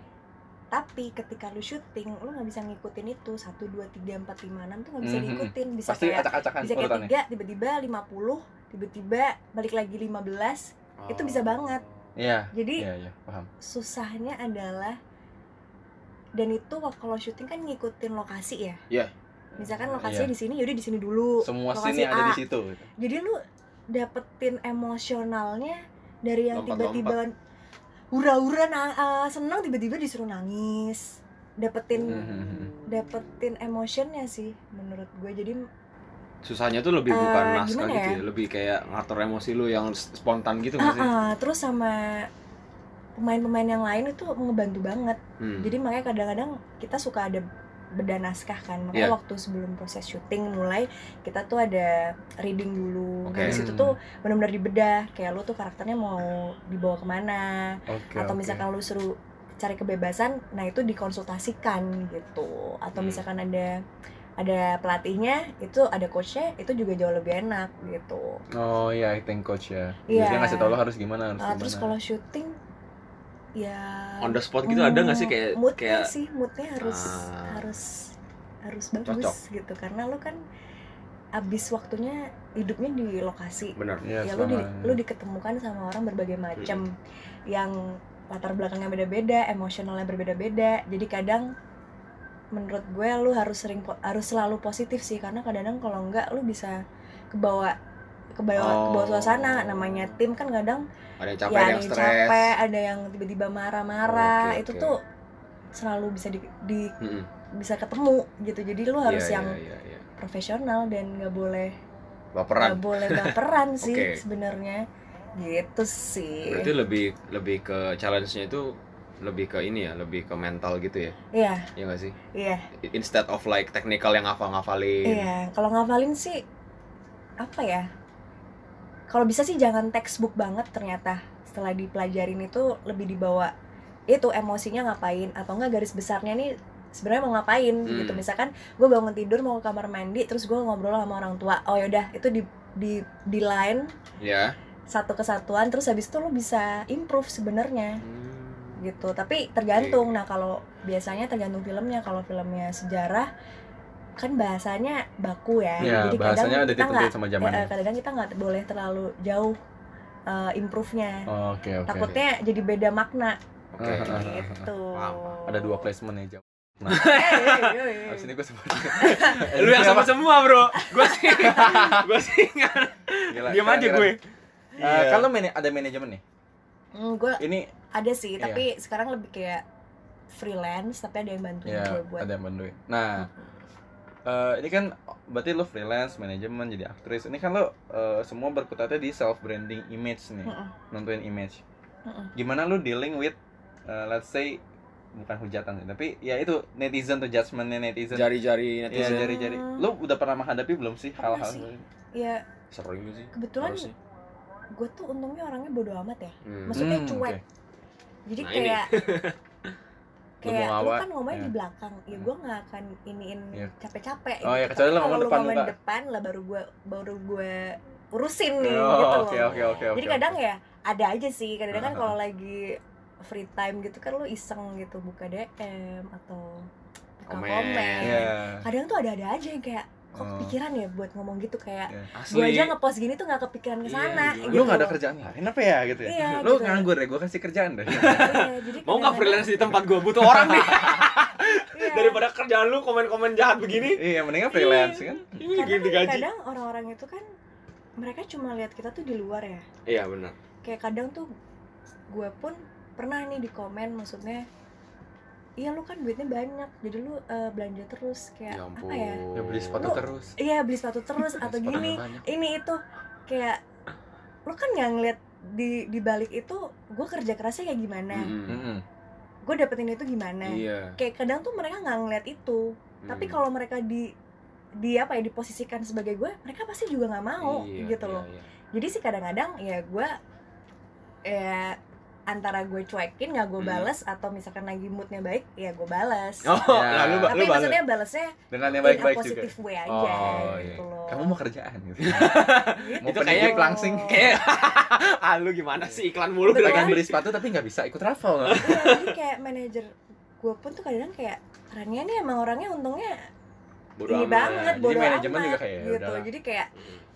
Tapi ketika lu syuting, lu nggak bisa ngikutin itu 1 2 3 4 5 6 tuh nggak bisa Mhm. diikutin, bisa Pasti kayak acak-acakan bisa kayak urutannya. tiga tiba-tiba 50 tiba-tiba balik lagi 15 Oh. Itu bisa banget. Iya, jadi iya, iya, paham. susahnya adalah dan itu wak- kalau syuting kan ngikutin lokasi ya misalkan lokasinya Iya. di sini yaudah di sini dulu semua lokasi scene yang ada A. di situ. gitu. jadi lu dapetin emosionalnya dari yang Lompat-lompat. tiba-tiba hura-hura na- eh, senang tiba-tiba disuruh nangis dapetin Mm-hmm. Hmm. dapetin emotionnya sih menurut gue jadi susahnya tuh lebih Eh, bukan naskah gimana gitu ya? ya lebih kayak ngatur emosi lu yang s- spontan gitu ah nggak sih ah, terus sama pemain-pemain yang lain itu ngebantu banget Hmm. ah. Jadi makanya kadang-kadang kita suka ada beda naskah kan. Makanya Iya. waktu sebelum proses syuting mulai kita tuh ada reading dulu. Oke. Mm. Dari situ tuh benar-benar dibedah kayak lu tuh karakternya mau dibawa kemana Oke, atau oke. misalkan lu suruh cari kebebasan, nah itu dikonsultasikan gitu. Atau Hmm. misalkan ada ada pelatihnya itu ada coachnya itu juga jauh lebih enak gitu. Oh iya, acting coach ya. Iya. Dia ngasih tau lo harus gimana, harus Ah, gimana. terus kalau syuting ya on the spot gitu ada nggak sih kayak kayak moodnya sih moodnya harus Ah. harus harus bagus Cocok. gitu karena lo kan abis waktunya hidupnya di lokasi bener Iya, ya lo di, selama- lo diketemukan sama orang berbagai macam yang latar belakangnya beda-beda emosionalnya berbeda-beda jadi kadang menurut gue lo harus sering po- harus selalu positif sih karena kadang-kadang kalau enggak lo bisa kebawa kebawa kebawa Oh. suasana namanya tim kan kadang ada yang capek ada ya ada yang yang stres capek, ada yang tiba-tiba marah-marah. Oke, itu oke. tuh selalu bisa di, di- Mm-mm. bisa ketemu gitu. Jadi lu harus Hmm. Iya, yang iya, iya, iya. profesional dan nggak boleh baperan nggak boleh baperan sih Oke. sebenarnya. Gitu sih. berarti lebih lebih ke challenge-nya itu lebih ke ini ya lebih ke mental gitu ya Iya, ya nggak sih iya, instead of like technical yang hafal ngafalin iya. Kalau ngafalin sih apa ya? Kalau bisa sih jangan textbook banget ternyata. Setelah dipelajarin itu lebih dibawa itu emosinya ngapain atau enggak garis besarnya nih sebenarnya mau ngapain Hmm. gitu misalkan gue bangun tidur mau ke kamar mandi terus gue ngobrol sama orang tua oh yaudah itu di di di line ya satu kesatuan terus habis itu lo bisa improve sebenarnya Hmm. gitu tapi tergantung nah kalau biasanya tergantung filmnya kalau filmnya sejarah kan bahasanya baku ya Iya, jadi bahasanya ada kadang kita nggak ditentuin sama zaman. eh, kadang kita nggak boleh terlalu jauh eh, improve-nya Oke, oke. takutnya jadi beda makna Ah, oke ah, [laughs] ah. gitu Paham, Ada dua placement ya, Jawa. Nah, [laughs] habis ini gue [laughs] sebut. lu yang sama semua bro gue sih [laughs] gue sih nggak Gila, diam keren, aja keren. gue Eh, Iya. Kalau mana- ada manajemen nih, gue ini Hmm, ada sih Iya. tapi sekarang lebih kayak freelance tapi ada yang bantuin ya gue buat ada yang bantuin. Nah, eh, ini kan berarti lo freelance, manajemen, jadi aktris. Ini kan lo eh, semua berkutatnya di self branding image nih, Mm-mm. nentuin image. Mm-mm. Gimana lo dealing with, eh, let's say bukan hujatan sih, tapi ya itu netizen tuh judgementnya netizen. Iya jari-jari netizen jari-jari. Lu udah pernah menghadapi belum sih Pernah hal-hal gitu? sih. seperti itu? ya sering sih kebetulan harusnya. gue tuh untungnya orangnya bodo amat ya Hmm. maksudnya Hmm, cuek jadi Nah, ini. kayak [laughs] Lu kayak mau lu ngawak, kan ngomongnya di ya. belakang ya gue nggak akan iniin Iya. capek-capek Oh, gitu. ya, kecuali lu Tapi ngomong kalau depan muka. depan lah baru gue baru gue urusin nih Oh, gitu Oke loh oke oke oke. jadi kadang ya ada aja sih kadang-kadang kan Ah. kalau lagi free time gitu kan lu iseng gitu buka DM atau buka Komen. komen, Iya. ya, kadang tuh ada-ada aja yang kayak kok Oh. pikiran ya buat ngomong gitu kayak asli gue aja ngepost gini tuh nggak kepikiran ke Iya, sana gimana? gitu. Lu gak ada kerjaan lain apa ya gitu ya? Iya, lu gitu. nganggur ya, gue kasih kerjaan deh. [laughs] Iya, jadi mau nggak kadang-kadang- freelance di tempat gue butuh orang [laughs] nih Iya. daripada kerjaan lu komen-komen jahat begini iya, mendingan freelance kan. ini Karena gini kan digaji kadang orang-orang itu kan mereka cuma lihat kita tuh di luar ya iya benar kayak kadang tuh gue pun pernah nih di komen maksudnya iya lu kan duitnya banyak jadi lu eh, belanja terus kayak ya ampun apa ya ya beli sepatu Lu- terus iya beli sepatu terus [laughs] atau Sepatunya gini banyak. ini itu kayak lu kan nggak ngeliat di di balik itu gue kerja kerasnya kayak gimana Mm-mm. Mm-mm. gue dapetin itu gimana Hmm. iya kayak kadang tuh mereka nggak ngeliat itu Nah, Hmm. tapi Mm. kalau mereka di di apa ya diposisikan sebagai gue mereka pasti juga nggak mau Iya, gitu iya, loh iya. jadi sih kadang-kadang ya gue ya antara gue cuekin nggak gue Hmm. balas atau misalkan lagi moodnya baik ya gue balas oh Ya. lalu ba- Nah, tapi lu balas maksudnya balasnya dengan yang in a Ya, baik-baik juga positive way Iya, aja Oh, iya. gitu loh kamu mau kerjaan [laughs] gitu Gitu. mau Itu kayaknya pendidik langsung kayak [laughs] ah lu gimana sih iklan lu mulu Betul. pengen beli sepatu tapi nggak bisa ikut raffle Iya, jadi kayak manajer gue pun tuh kadang kayak kerennya nih emang orangnya untungnya Bodo ini amat. banget Jadi bodo manajemen amat, juga kayak, ya gitu udahlah. jadi kayak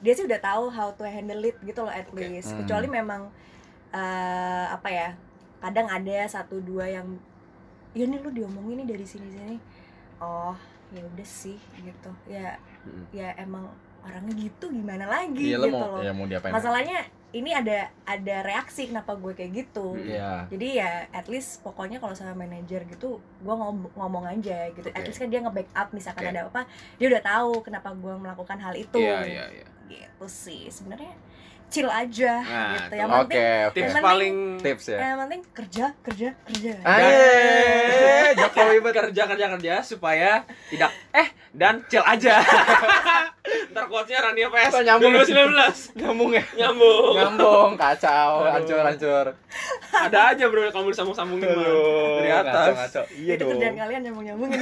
dia sih udah tahu how to handle it gitu loh at Oke. least Hmm. kecuali memang eh, apa ya kadang ada satu dua yang ya nih lu diomongin nih dari sini sini oh ya udah sih gitu ya Mm. ya emang orangnya gitu gimana lagi iya lo gitu mau loh ya mau diapain masalahnya ini ada ada reaksi kenapa gue kayak gitu Mm. Iya. jadi ya at least pokoknya kalau sama manajer gitu gue ngom- ngomong aja gitu Oke. at least kan dia nge-backup Oke. misalkan ada apa dia udah tahu kenapa gue melakukan hal itu iya iya iya gitu sih sebenarnya chill aja Nah, gitu tuh. yang Oke, penting Eh. oke. tips Yang paling Tips ya. yang penting kerja kerja kerja Ah, iya Aye, Eh, [laughs] Jokowi bet. kerja kerja kerja supaya tidak eh dan chill aja [laughs] ntar quotesnya Rania PS Ntar ya? nyambung. 2019 Nyambung ya. nyambung [laughs] Nyambung, kacau, Aduh. hancur, hancur. ada aja bro kalau mau disambung-sambungin mah Aduh, Dari atas. ngaco, ngaco. Iya itu dong. kerjaan kalian nyambung nyambungin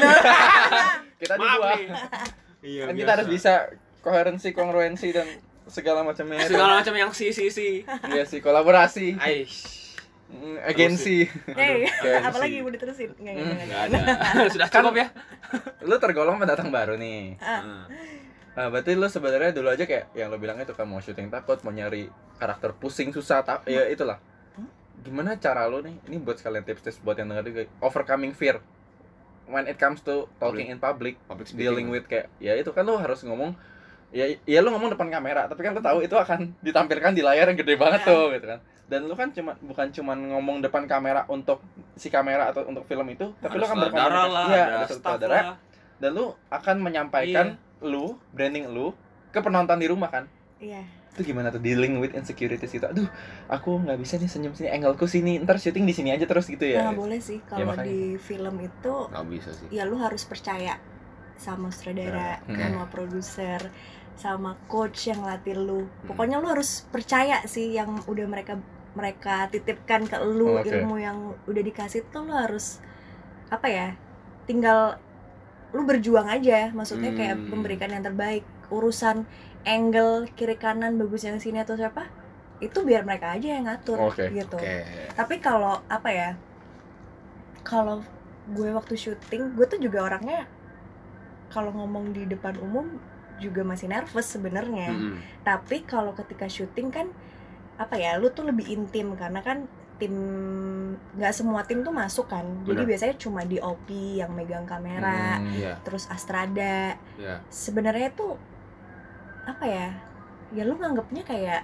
Kita di maaf dua. [laughs] nih iya, Kan biasa. kita harus bisa koherensi, kongruensi dan segala macamnya. itu. segala macam yang si si si Iya sih, kolaborasi, Aish Mm, agensi. hey Aduh, Iya, apalagi sih. mau diterusin nggak Hmm, nggak nggak nggak ada [laughs] sudah cukup ya Lu tergolong pendatang baru nih. Ah, Hmm. Nah, berarti lu sebenarnya dulu aja kayak yang lu bilang itu kan mau syuting takut, mau nyari karakter pusing susah, ta- ya itulah. Gimana cara lu nih? Ini buat sekalian tips-tips buat yang denger juga. Overcoming fear when it comes to talking in public, public dealing with kayak ya itu kan lu harus ngomong ya ya lu ngomong depan kamera, tapi kan lu tahu itu akan ditampilkan di layar yang gede Iya. banget Ya. tuh gitu kan. Dan lu kan cuma bukan cuman ngomong depan kamera untuk si kamera atau untuk film itu, tapi lu Ada kan sutradara berkomunikasi. lah Iya, ada ada staff sutradara lah dan lu akan menyampaikan lu branding lu ke penonton di rumah kan iya itu gimana tuh dealing with insecurities gitu aduh aku nggak bisa nih senyum sini angleku sini ntar syuting di sini aja terus gitu ya nggak boleh sih kalau makanya. di film itu nggak bisa sih ya lu harus percaya sama sutradara, Ya, oke. sama produser, sama coach yang latih lu. Hmm. Pokoknya lu harus percaya sih yang udah mereka mereka titipkan ke lu Oh, oke. ilmu yang udah dikasih tuh lu harus apa ya? Tinggal lu berjuang aja, maksudnya kayak Hmm. memberikan yang terbaik. Urusan angle kiri kanan bagus yang sini atau siapa? Itu biar mereka aja yang ngatur Oh, Oke, gitu oke tapi kalau apa ya kalau gue waktu syuting gue tuh juga orangnya kalau ngomong di depan umum juga masih nervous sebenarnya Mm-mm. tapi kalau ketika syuting kan apa ya lu tuh lebih intim karena kan tim nggak semua tim tuh masuk kan jadi Benar. biasanya cuma di OP yang megang kamera Hmm. iya terus Astrada iya sebenarnya tuh apa ya ya lu nganggapnya kayak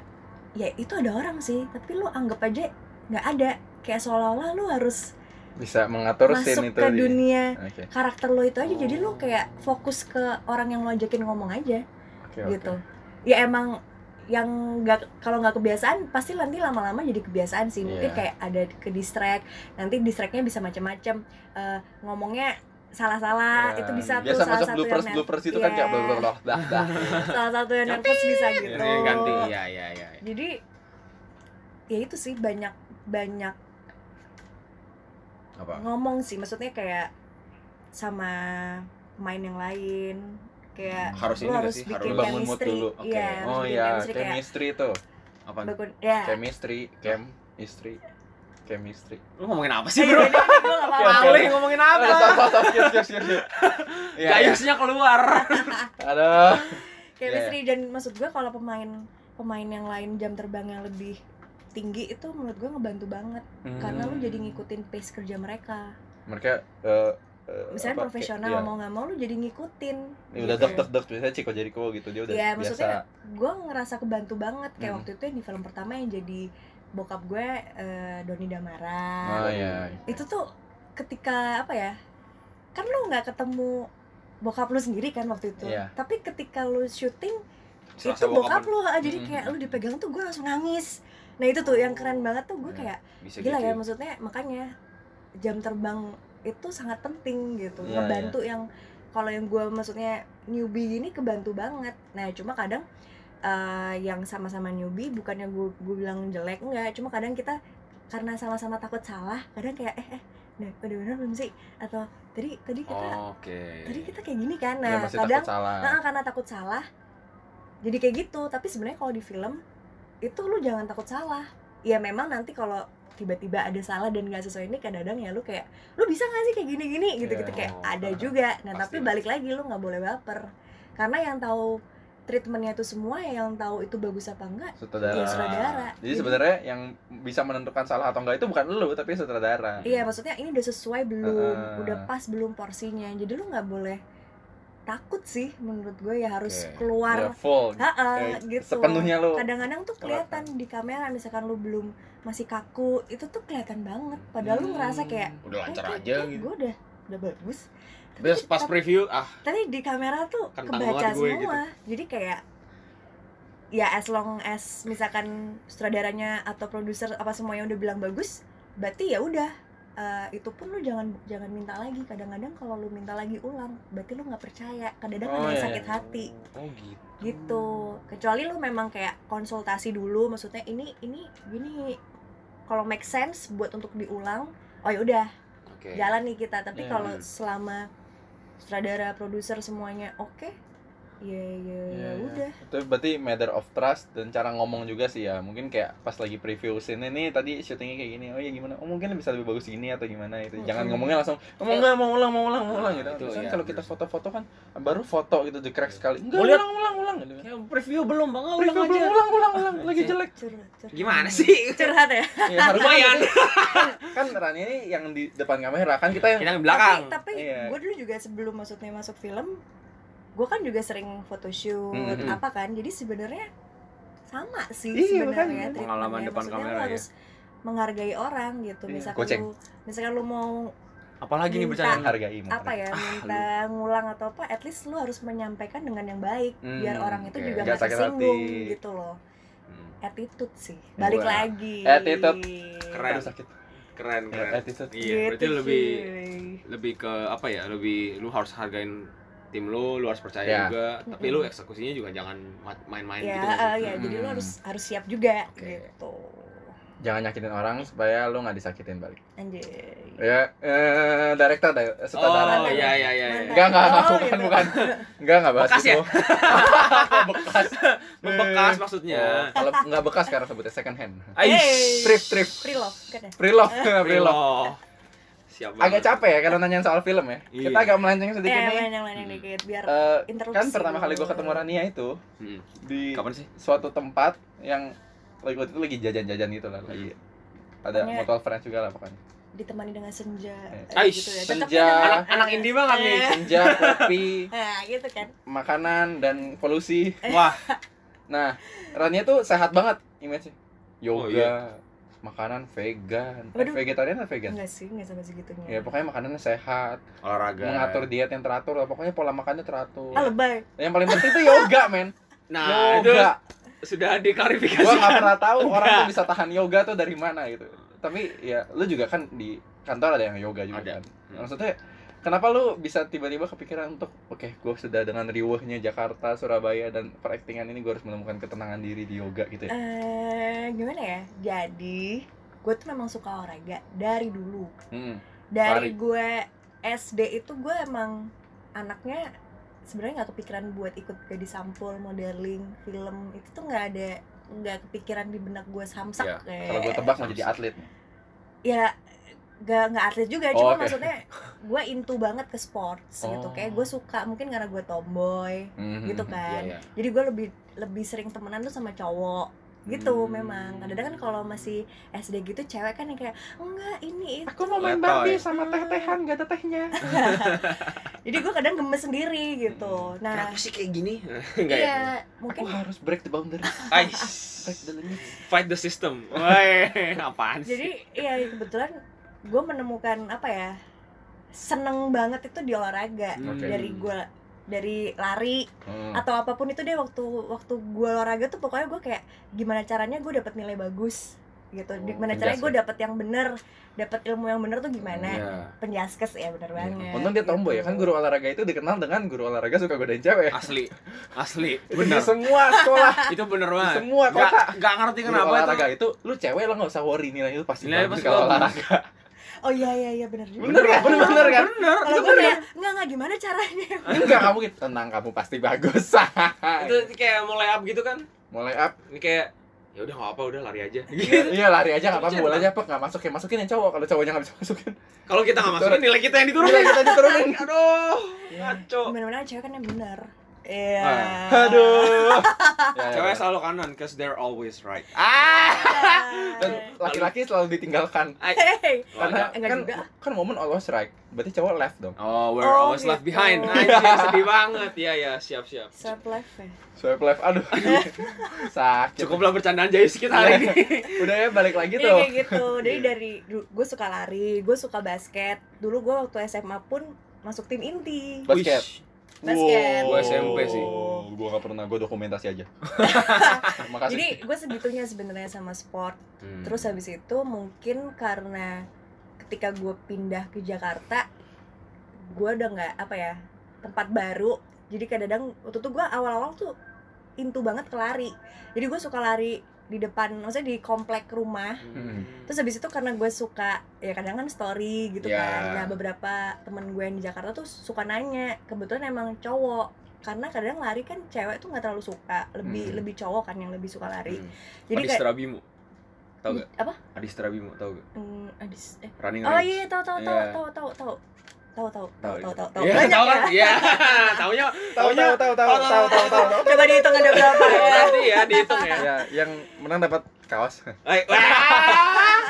ya itu ada orang sih tapi lu anggap aja nggak ada kayak seolah-olah lu harus bisa mengatur masuk scene itu iya. ke di- dunia oke karakter lo itu aja jadi lu Oh. kayak fokus ke orang yang lo ajakin ngomong aja oke gitu ya emang yang nggak kalau nggak kebiasaan pasti nanti lama-lama jadi kebiasaan sih mungkin Iya. kayak ada ke distract nanti distractnya bisa macam-macam Eh, ngomongnya salah-salah Ya, Nah, itu bisa tuh biasa salah masuk satu yang bloopers nervous. bloopers itu kan kayak Iya. blah blah blah dah dah salah satu yang nervous bisa gitu Ini ganti iya iya iya jadi ya itu sih banyak banyak apa ngomong sih maksudnya kayak sama pemain yang lain kayak harus lu ini nggak harus sih bikin Hmm. Harus bangun mood chemistry dulu, oke. iya harus oh bikin iya chemistry kayak chemistry tuh apa bagus ya chemistry chem istri chemistry lu ngomongin apa Eh, sih bro yaudah, yaudah, gua nggak apa-apa. Oke, oke. Alih ngomongin Aduh, Iya, apa stop, stop, stop, skip, skip, [laughs] skip, skip. Iya, iya. gayusnya keluar Aduh. chemistry dan maksud gue kalau pemain pemain yang lain jam terbang yang lebih tinggi itu menurut gue ngebantu banget karena Hmm. lu jadi ngikutin pace kerja mereka mereka eh, eh, misalnya apa, profesional kayak- mau nggak mau lu jadi ngikutin iya. Ini udah gitu. dok dok dok biasanya Ciko Jericho gitu dia udah Iya, biasa maksudnya gue ngerasa kebantu banget kayak Hmm. waktu itu yang di film pertama yang jadi bokap gue eh, Doni Damara Oh iya. ah, itu tuh ketika apa ya kan lu nggak ketemu bokap lu sendiri kan waktu itu Iya. tapi ketika lu syuting Serasa itu bokap lu ah, jadi Mm-mm. kayak lu dipegang tuh gue langsung nangis nah itu tuh yang keren banget tuh gue Iya. kayak bisa gila gitu ya maksudnya makanya jam terbang itu sangat penting gitu Iya, ngebantu yang kalau yang gue maksudnya newbie gini kebantu banget nah cuma kadang eh, yang sama-sama newbie bukannya gue bilang jelek enggak cuma kadang kita karena sama-sama takut salah kadang kayak eh eh nah, udah bener belum sih atau tadi tadi kita Oh, oke tadi kita kayak gini kan Iya, nah masih kadang takut salah. Nah, karena takut salah. Jadi kayak gitu, tapi sebenarnya kalau di film itu lu jangan takut salah. Ya memang nanti kalau tiba-tiba ada salah dan nggak sesuai ini kadang-kadang ya lu kayak lu bisa nggak sih kayak gini-gini gitu-gitu Iya. kayak Oh, ada paham. juga. Nah, tapi Pasti. balik lagi lu nggak boleh baper. Karena yang tahu treatmentnya itu semua yang tahu itu bagus apa enggak sutradara. ya sutradara. Jadi sebenarnya yang bisa menentukan salah atau enggak itu bukan lu tapi sutradara. Iya, maksudnya ini udah sesuai belum, Heeh. udah pas belum porsinya. Jadi lu nggak boleh takut sih menurut gue ya harus Oke. keluar Ya, full. Ha-ha, Eh, gitu. Sepenuhnya lu. kadang-kadang tuh kelihatan kan. di kamera misalkan lu belum masih kaku itu tuh kelihatan banget padahal lu ngerasa kayak "Eh, udah Hmm, lancar aja gitu gue udah udah bagus Terus pas preview ah tapi di kamera tuh Kentang kebaca banget gue gitu. semua jadi kayak ya as long as misalkan sutradaranya atau produser apa semuanya udah bilang bagus berarti ya udah eh, itu pun lu jangan jangan minta lagi kadang-kadang kalau lu minta lagi ulang berarti lu nggak percaya kadang-kadang Oh, ada yang iya. sakit hati oh gitu gitu kecuali lu memang kayak konsultasi dulu maksudnya ini ini gini kalau make sense buat untuk diulang oh ya udah oke Hmm. jalan nih kita tapi Iya. kalau selama sutradara produser semuanya oke ya ya Iya, iya. udah Itu berarti matter of trust dan cara ngomong juga sih ya. Mungkin kayak pas lagi preview scene ini tadi syutingnya kayak gini. Oh iya gimana? Oh mungkin bisa lebih bagus gini atau gimana itu. Jangan Mm-mm. ngomongnya langsung oh, mau enggak mau ulang mau ulang mau Nah, ulang gitu. itu, Misalnya iya, kalau kita bener. foto-foto kan baru foto gitu jekrek sekali. Enggak Boleh. ulang ulang ulang gitu. Kayak preview belum bang ulang Preview belum, aja ulang ulang ulang lagi Iya. jelek. curhat, curhat. gimana sih [laughs] curhat ya Ya, harusnya lumayan kan Rani ini yang di depan kamera kan kita yang kita yang tapi, belakang tapi Iya. gue dulu juga sebelum maksudnya masuk film gue kan juga sering photoshoot Mm-mm. apa kan jadi sebenarnya sama sih hmm. Iya, makanya. sebenarnya treatmentnya. Pengalaman depan Maksudnya lu kamera ya. harus menghargai orang gitu Iya. misalkan Goceng. lu misalkan lu mau apalagi nih Minta. bercanda hargai mereka. apa ya minta ngulang atau apa at least lu harus menyampaikan dengan yang baik Hmm, biar orang itu oke. juga Nggak nggak sakit tersinggung hati. Iya. gitu loh Hmm, attitude sih balik Wah, lagi attitude. Keren. Aduh, sakit. keren Ya, keren attitude. iya Gitu berarti lebih cuy. lebih ke apa ya lebih lu harus hargain tim lu lu harus percaya Ya. juga tapi lu Mm-mm. eksekusinya juga jangan ma- main-main ya gitu nggak sih? eh, ya jadi lu Hmm. harus harus siap juga Oke. gitu Jangan nyakitin orang supaya lu nggak disakitin balik. anjay Ya, eh, director, di- sutradara. kan. oh iya iya iya Mantap. iya. Enggak, enggak, enggak, Oh, bukan, gitu. bukan. Enggak, enggak bahas Bekas itu. [laughs] ya? bekas. membekas Eh, maksudnya oh, kalau enggak bekas sekarang sebutnya second hand. Aish. Trip, trip. free love kan ya Free love, [laughs] free love. Prilo. Siap Agak banget. capek ya kalau nanyain soal film ya. Iya. Kita agak melenceng sedikit ya nih. yang lain yang Hmm. dikit biar kan, Eh, interupsi kan pertama kali gua dulu. ketemu Rania itu Hmm. di Kapan sih? suatu tempat yang lagi waktu itu lagi jajan-jajan gitu lah lagi ada Pokoknya- mutual friends juga lah pokoknya ditemani dengan senja Eh. eh, Aish, Tetep senja. kan Anak- anak indie banget nih. Eh, senja kopi [laughs] nah gitu kan makanan dan polusi Eh. Wah, nah Rania tuh sehat banget image yoga Oh, iya. makanan vegan eh, Waduh. vegetarian atau vegan enggak sih enggak sampai segitunya ya pokoknya makanannya sehat olahraga. mengatur diet yang teratur lah. pokoknya pola makannya teratur ah lebay yang paling penting itu yoga men Nah, itu yoga sudah diklarifikasi. gua nggak pernah tahu orang Enggak. tuh bisa tahan yoga tuh dari mana gitu tapi ya lu juga kan di kantor ada yang yoga juga Ada. kan Hmm. maksudnya kenapa lu bisa tiba-tiba kepikiran untuk oke gua sudah dengan riuhnya Jakarta Surabaya dan peraktingan ini gua harus menemukan ketenangan diri di yoga gitu ya eh gimana ya jadi gue tuh memang suka olahraga dari dulu Hmm. Lari. dari gue SD itu gue emang anaknya sebenarnya nggak kepikiran buat ikut gadis sampul modeling film itu tuh nggak ada nggak kepikiran di benak gue samsak Iya, kayak kalau gua tebak mau jadi atlet nih. ya gak nggak atlet juga Oh, cuma oke. [laughs] maksudnya gue into banget ke sports gitu Oh. kayak gue suka mungkin karena gue tomboy gitu Mhm. kan Iya, iya. jadi gue lebih lebih sering temenan tuh sama cowok gitu Hmm. memang kadang-kadang kan kalau masih SD gitu cewek kan yang kayak enggak ini itu." Iya. Aku mau main Letoy. Barbie sama teh-tehan, gak ada tehnya. jadi gue kadang gemes sendiri gitu Hmm. nah Kenapa sih kayak gini? [laughs] Enggak ya? iya Aku mungkin harus break the boundaries, Ais, break the limit. fight the system. Woi, [laughs] apaan sih? [laughs] jadi iya kebetulan gue menemukan apa ya seneng banget itu di olahraga Oke. dari gue dari lari Hmm. atau apapun itu deh waktu waktu gue olahraga tuh pokoknya gue kayak gimana caranya gue dapet nilai bagus gitu Oh, gimana caranya gue penjaskes. dapet yang bener dapet ilmu yang bener tuh gimana Iya. penjaskes ya bener banget Untung dia tomboy ya, kan guru olahraga itu dikenal dengan guru olahraga suka godain cewek. Asli, [laughs] asli, Itu di bener. semua sekolah, Itu bener di banget. semua Gak, kota. gak ngerti Guru kenapa itu. olahraga itu, lu cewek lo gak usah worry nilai lu pasti Nilainya bagus pasti kalau bagus. olahraga. oh iya iya iya bener juga Bener kan? Bener, bener kan? Bener. kalau itu gue bener. kayak nggak nggak gimana caranya Enggak, kamu gitu. Tenang, kamu pasti bagus. Itu kayak mulai up gitu kan? Mulai up. Ini kayak ya udah nggak apa udah lari aja. Gitu. Iya, lari aja gak apa-apa, Jangan. bolanya apa gak masuk ya masukin yang cowok. Kalau cowoknya gak bisa masukin, Kalau kita nggak masukin nilai kita yang nilai diturunin. kita diturunin. [laughs] Iya. Aduh, ngaco. bener-bener cewek kan yang bener iya Ah. Aduh. [laughs] Ya, ya, Cewek ya. selalu kanan, cause they're always right. Ah! Iya. Dan laki-laki selalu ditinggalkan. Hey. Karena Enggak kan, juga. kan woman always right. Berarti cowok left dong. Oh, we're Oh, always left gitu. behind. Anjir, sedih banget. Iya, ya, siap, siap. Swipe left ya. Swipe left. [laughs] Aduh. Sakit. Cukuplah bercandaan jais kita hari ini. Udah ya balik lagi Iya, tuh. kayak gitu. Jadi dari gue suka lari, gue suka basket. Dulu gue waktu SMA pun masuk tim inti. Basket. Wish. Basket. Gua SMP sih. Gua gak pernah, gua dokumentasi [laughs] aja. Makasih. Jadi gue segitunya sebenarnya sama sport. Hmm. Terus habis itu mungkin karena ketika gue pindah ke Jakarta, gue udah nggak apa ya tempat baru. Jadi kadang-kadang waktu itu gue awal-awal tuh intu banget ke lari. Jadi gue suka lari di depan, maksudnya di komplek rumah Hmm. Terus habis itu karena gue suka ya kadang kan story gitu Ya. kan. Nah, beberapa temen gue yang di Jakarta tuh suka nanya, kebetulan emang cowok karena kadang lari kan cewek tuh nggak terlalu suka lebih Hmm. lebih cowok kan yang lebih suka lari Hmm. jadi kayak Adistra Bimo. Tahu gak? apa Adistra Bimo, tahu gak? Hmm, adis eh. Running oh Race. iya tahu tahu tahu Iya. tahu tahu tahu tahu tahu tahu tahu tahu tahu Iya, banyak tahu kan? ya Iya. [laughs] Taunya iya. Tahu tahu tahu tahu tahu tahu tahu. tahu. [laughs] coba dihitung ada berapa ya [laughs] nanti ya dihitung ya. Ya, yang menang dapat kaos. Eh, wah.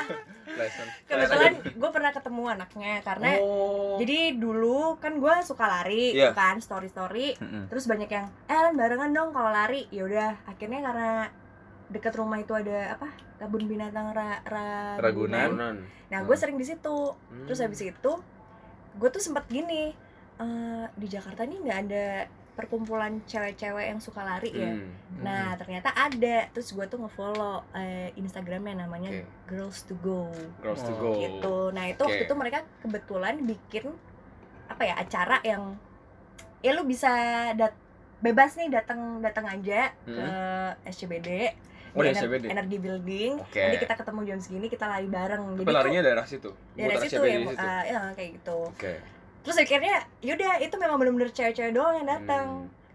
Lesson. kebetulan gue pernah ketemu anaknya karena Oh. Nah, jadi dulu kan gue suka lari Iya. kan story story Mm-mm. terus banyak yang eh Lan, barengan dong kalau lari ya udah akhirnya karena deket rumah itu ada apa kebun binatang ra, ra- Ragunan. nah gue Hmm. sering di situ terus habis itu gue tuh sempet gini "Eh, di Jakarta nih nggak ada perkumpulan cewek-cewek yang suka lari Hmm, ya Hmm. nah ternyata ada terus gue tuh ngefollow eh, Instagramnya namanya Oke. girls to go Girls to Oh. go. gitu nah itu Oke. waktu itu mereka kebetulan bikin apa ya acara yang ya lu bisa dat- bebas nih datang datang aja Hmm. ke SCBD Oh, di di SCBD. energy building Oke. nanti kita ketemu jam segini kita lari bareng Tapi tuh larinya daerah situ. dari Muter situ SCBD ya, di situ. eh, ya kayak gitu Oke. terus akhirnya yaudah itu memang bener-bener cewek-cewek doang yang Hmm. datang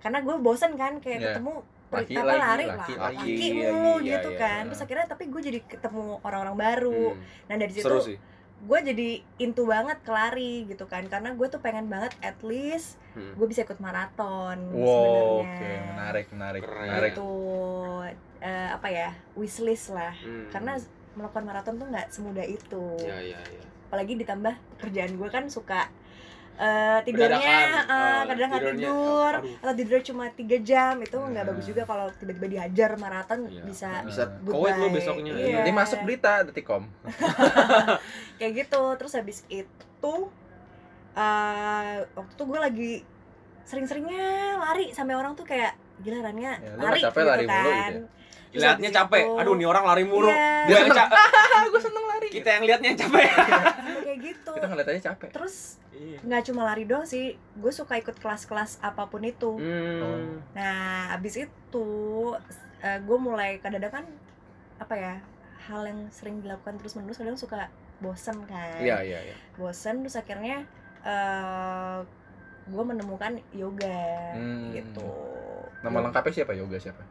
karena gue bosen kan kayak Iya. ketemu Laki apa lagi, lari laki lah, lagi. laki Iya, mulu iya, gitu iya. kan terus akhirnya tapi gue jadi ketemu orang-orang baru Hmm. nah dari situ Seru sih. gue jadi intu banget ke lari gitu kan karena gue tuh pengen banget at least Hmm. gue bisa ikut maraton Wow, oke, sebenarnya menarik, menarik, Keren. menarik. itu eh, apa ya wishlist lah Hmm. karena melakukan maraton tuh nggak semudah itu ya ya ya. apalagi ditambah pekerjaan gue kan suka eh, tidurnya Dadakan. eh, Oh, kadang nggak tidurnya, tidur aduh. atau tidurnya cuma tiga jam itu nggak Nah. bagus juga kalau tiba-tiba dihajar maraton Iya. bisa bisa Goodbye. kowet lo besoknya. Iya. Nanti masuk berita detikom. kayak gitu terus habis itu eh waktu itu gue lagi sering-seringnya lari sampai orang tuh kayak gila Rania Ya, lu lari kan. nggak capek lari mulu gitu ya. Terus Lihatnya habis capek. itu- Aduh, nih orang lari mulu. Iya, Dia kan yang [laughs] capek. Ah, gue seneng lari. Kita yang lihatnya yang capek. sampai kayak gitu Kita ngeliat aja capek. terus Iya. nggak cuma lari doang sih gue suka ikut kelas-kelas apapun itu Hmm. Nah, abis itu eh, gue mulai kadang-kadang kan apa ya hal yang sering dilakukan terus menerus kadang suka bosen kan, Iya, iya, iya. bosen terus akhirnya gue menemukan yoga Hmm. gitu. Nama lengkapnya siapa? Yoga [laughs] siapa?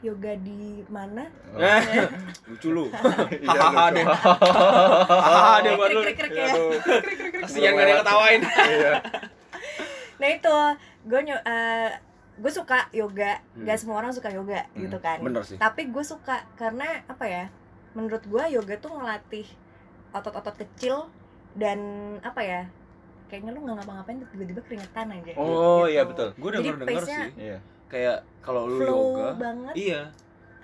Yoga di mana? Oh. Eh, lucu lu. [laughs] Hahaha lucu. [laughs] Iya, deh. Hahaha deh Ah, buat lu. Krik, krik, krik, ya. Aduh. [laughs] Kasihan gak ada yang ketawain. Iya. Nah itu gue gue suka yoga Hmm. gak semua orang suka yoga Hmm, gitu kan bener sih tapi gue suka karena apa ya menurut gue yoga tuh ngelatih otot-otot kecil dan apa ya kayaknya lu nggak ngapa-ngapain tiba-tiba keringetan aja Oh Gitu. iya betul. gue Jadi denger denger pace-nya sih Iya. kayak kalau lu flow yoga banget iya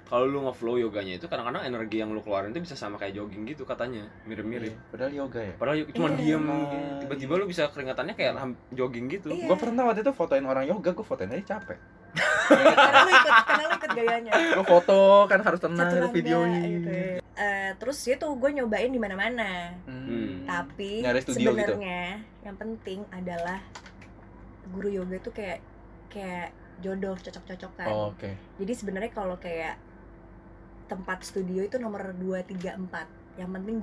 kalau lu nge-flow yoganya itu kadang-kadang energi yang lu keluarin itu bisa sama kayak jogging gitu katanya mirip-mirip Padahal yoga ya. padahal yo- cuma Iya. diem Nah, tiba-tiba lu bisa keringatannya kayak ham- jogging gitu Iya. Gue pernah waktu itu fotoin orang yoga, gue fotoin aja capek. karena lu ikut karena lu ikut gayanya Gue foto kan harus tenang satu ada lambda videonya. gitu ya. Eh, terus itu gue nyobain di mana-mana Hmm. tapi Nyari studio gitu? sebenarnya yang penting adalah guru yoga tuh kayak kayak jodoh cocok-cocokan Oh, Oke. jadi sebenarnya kalau kayak tempat studio itu nomor 2, 3, 4 yang penting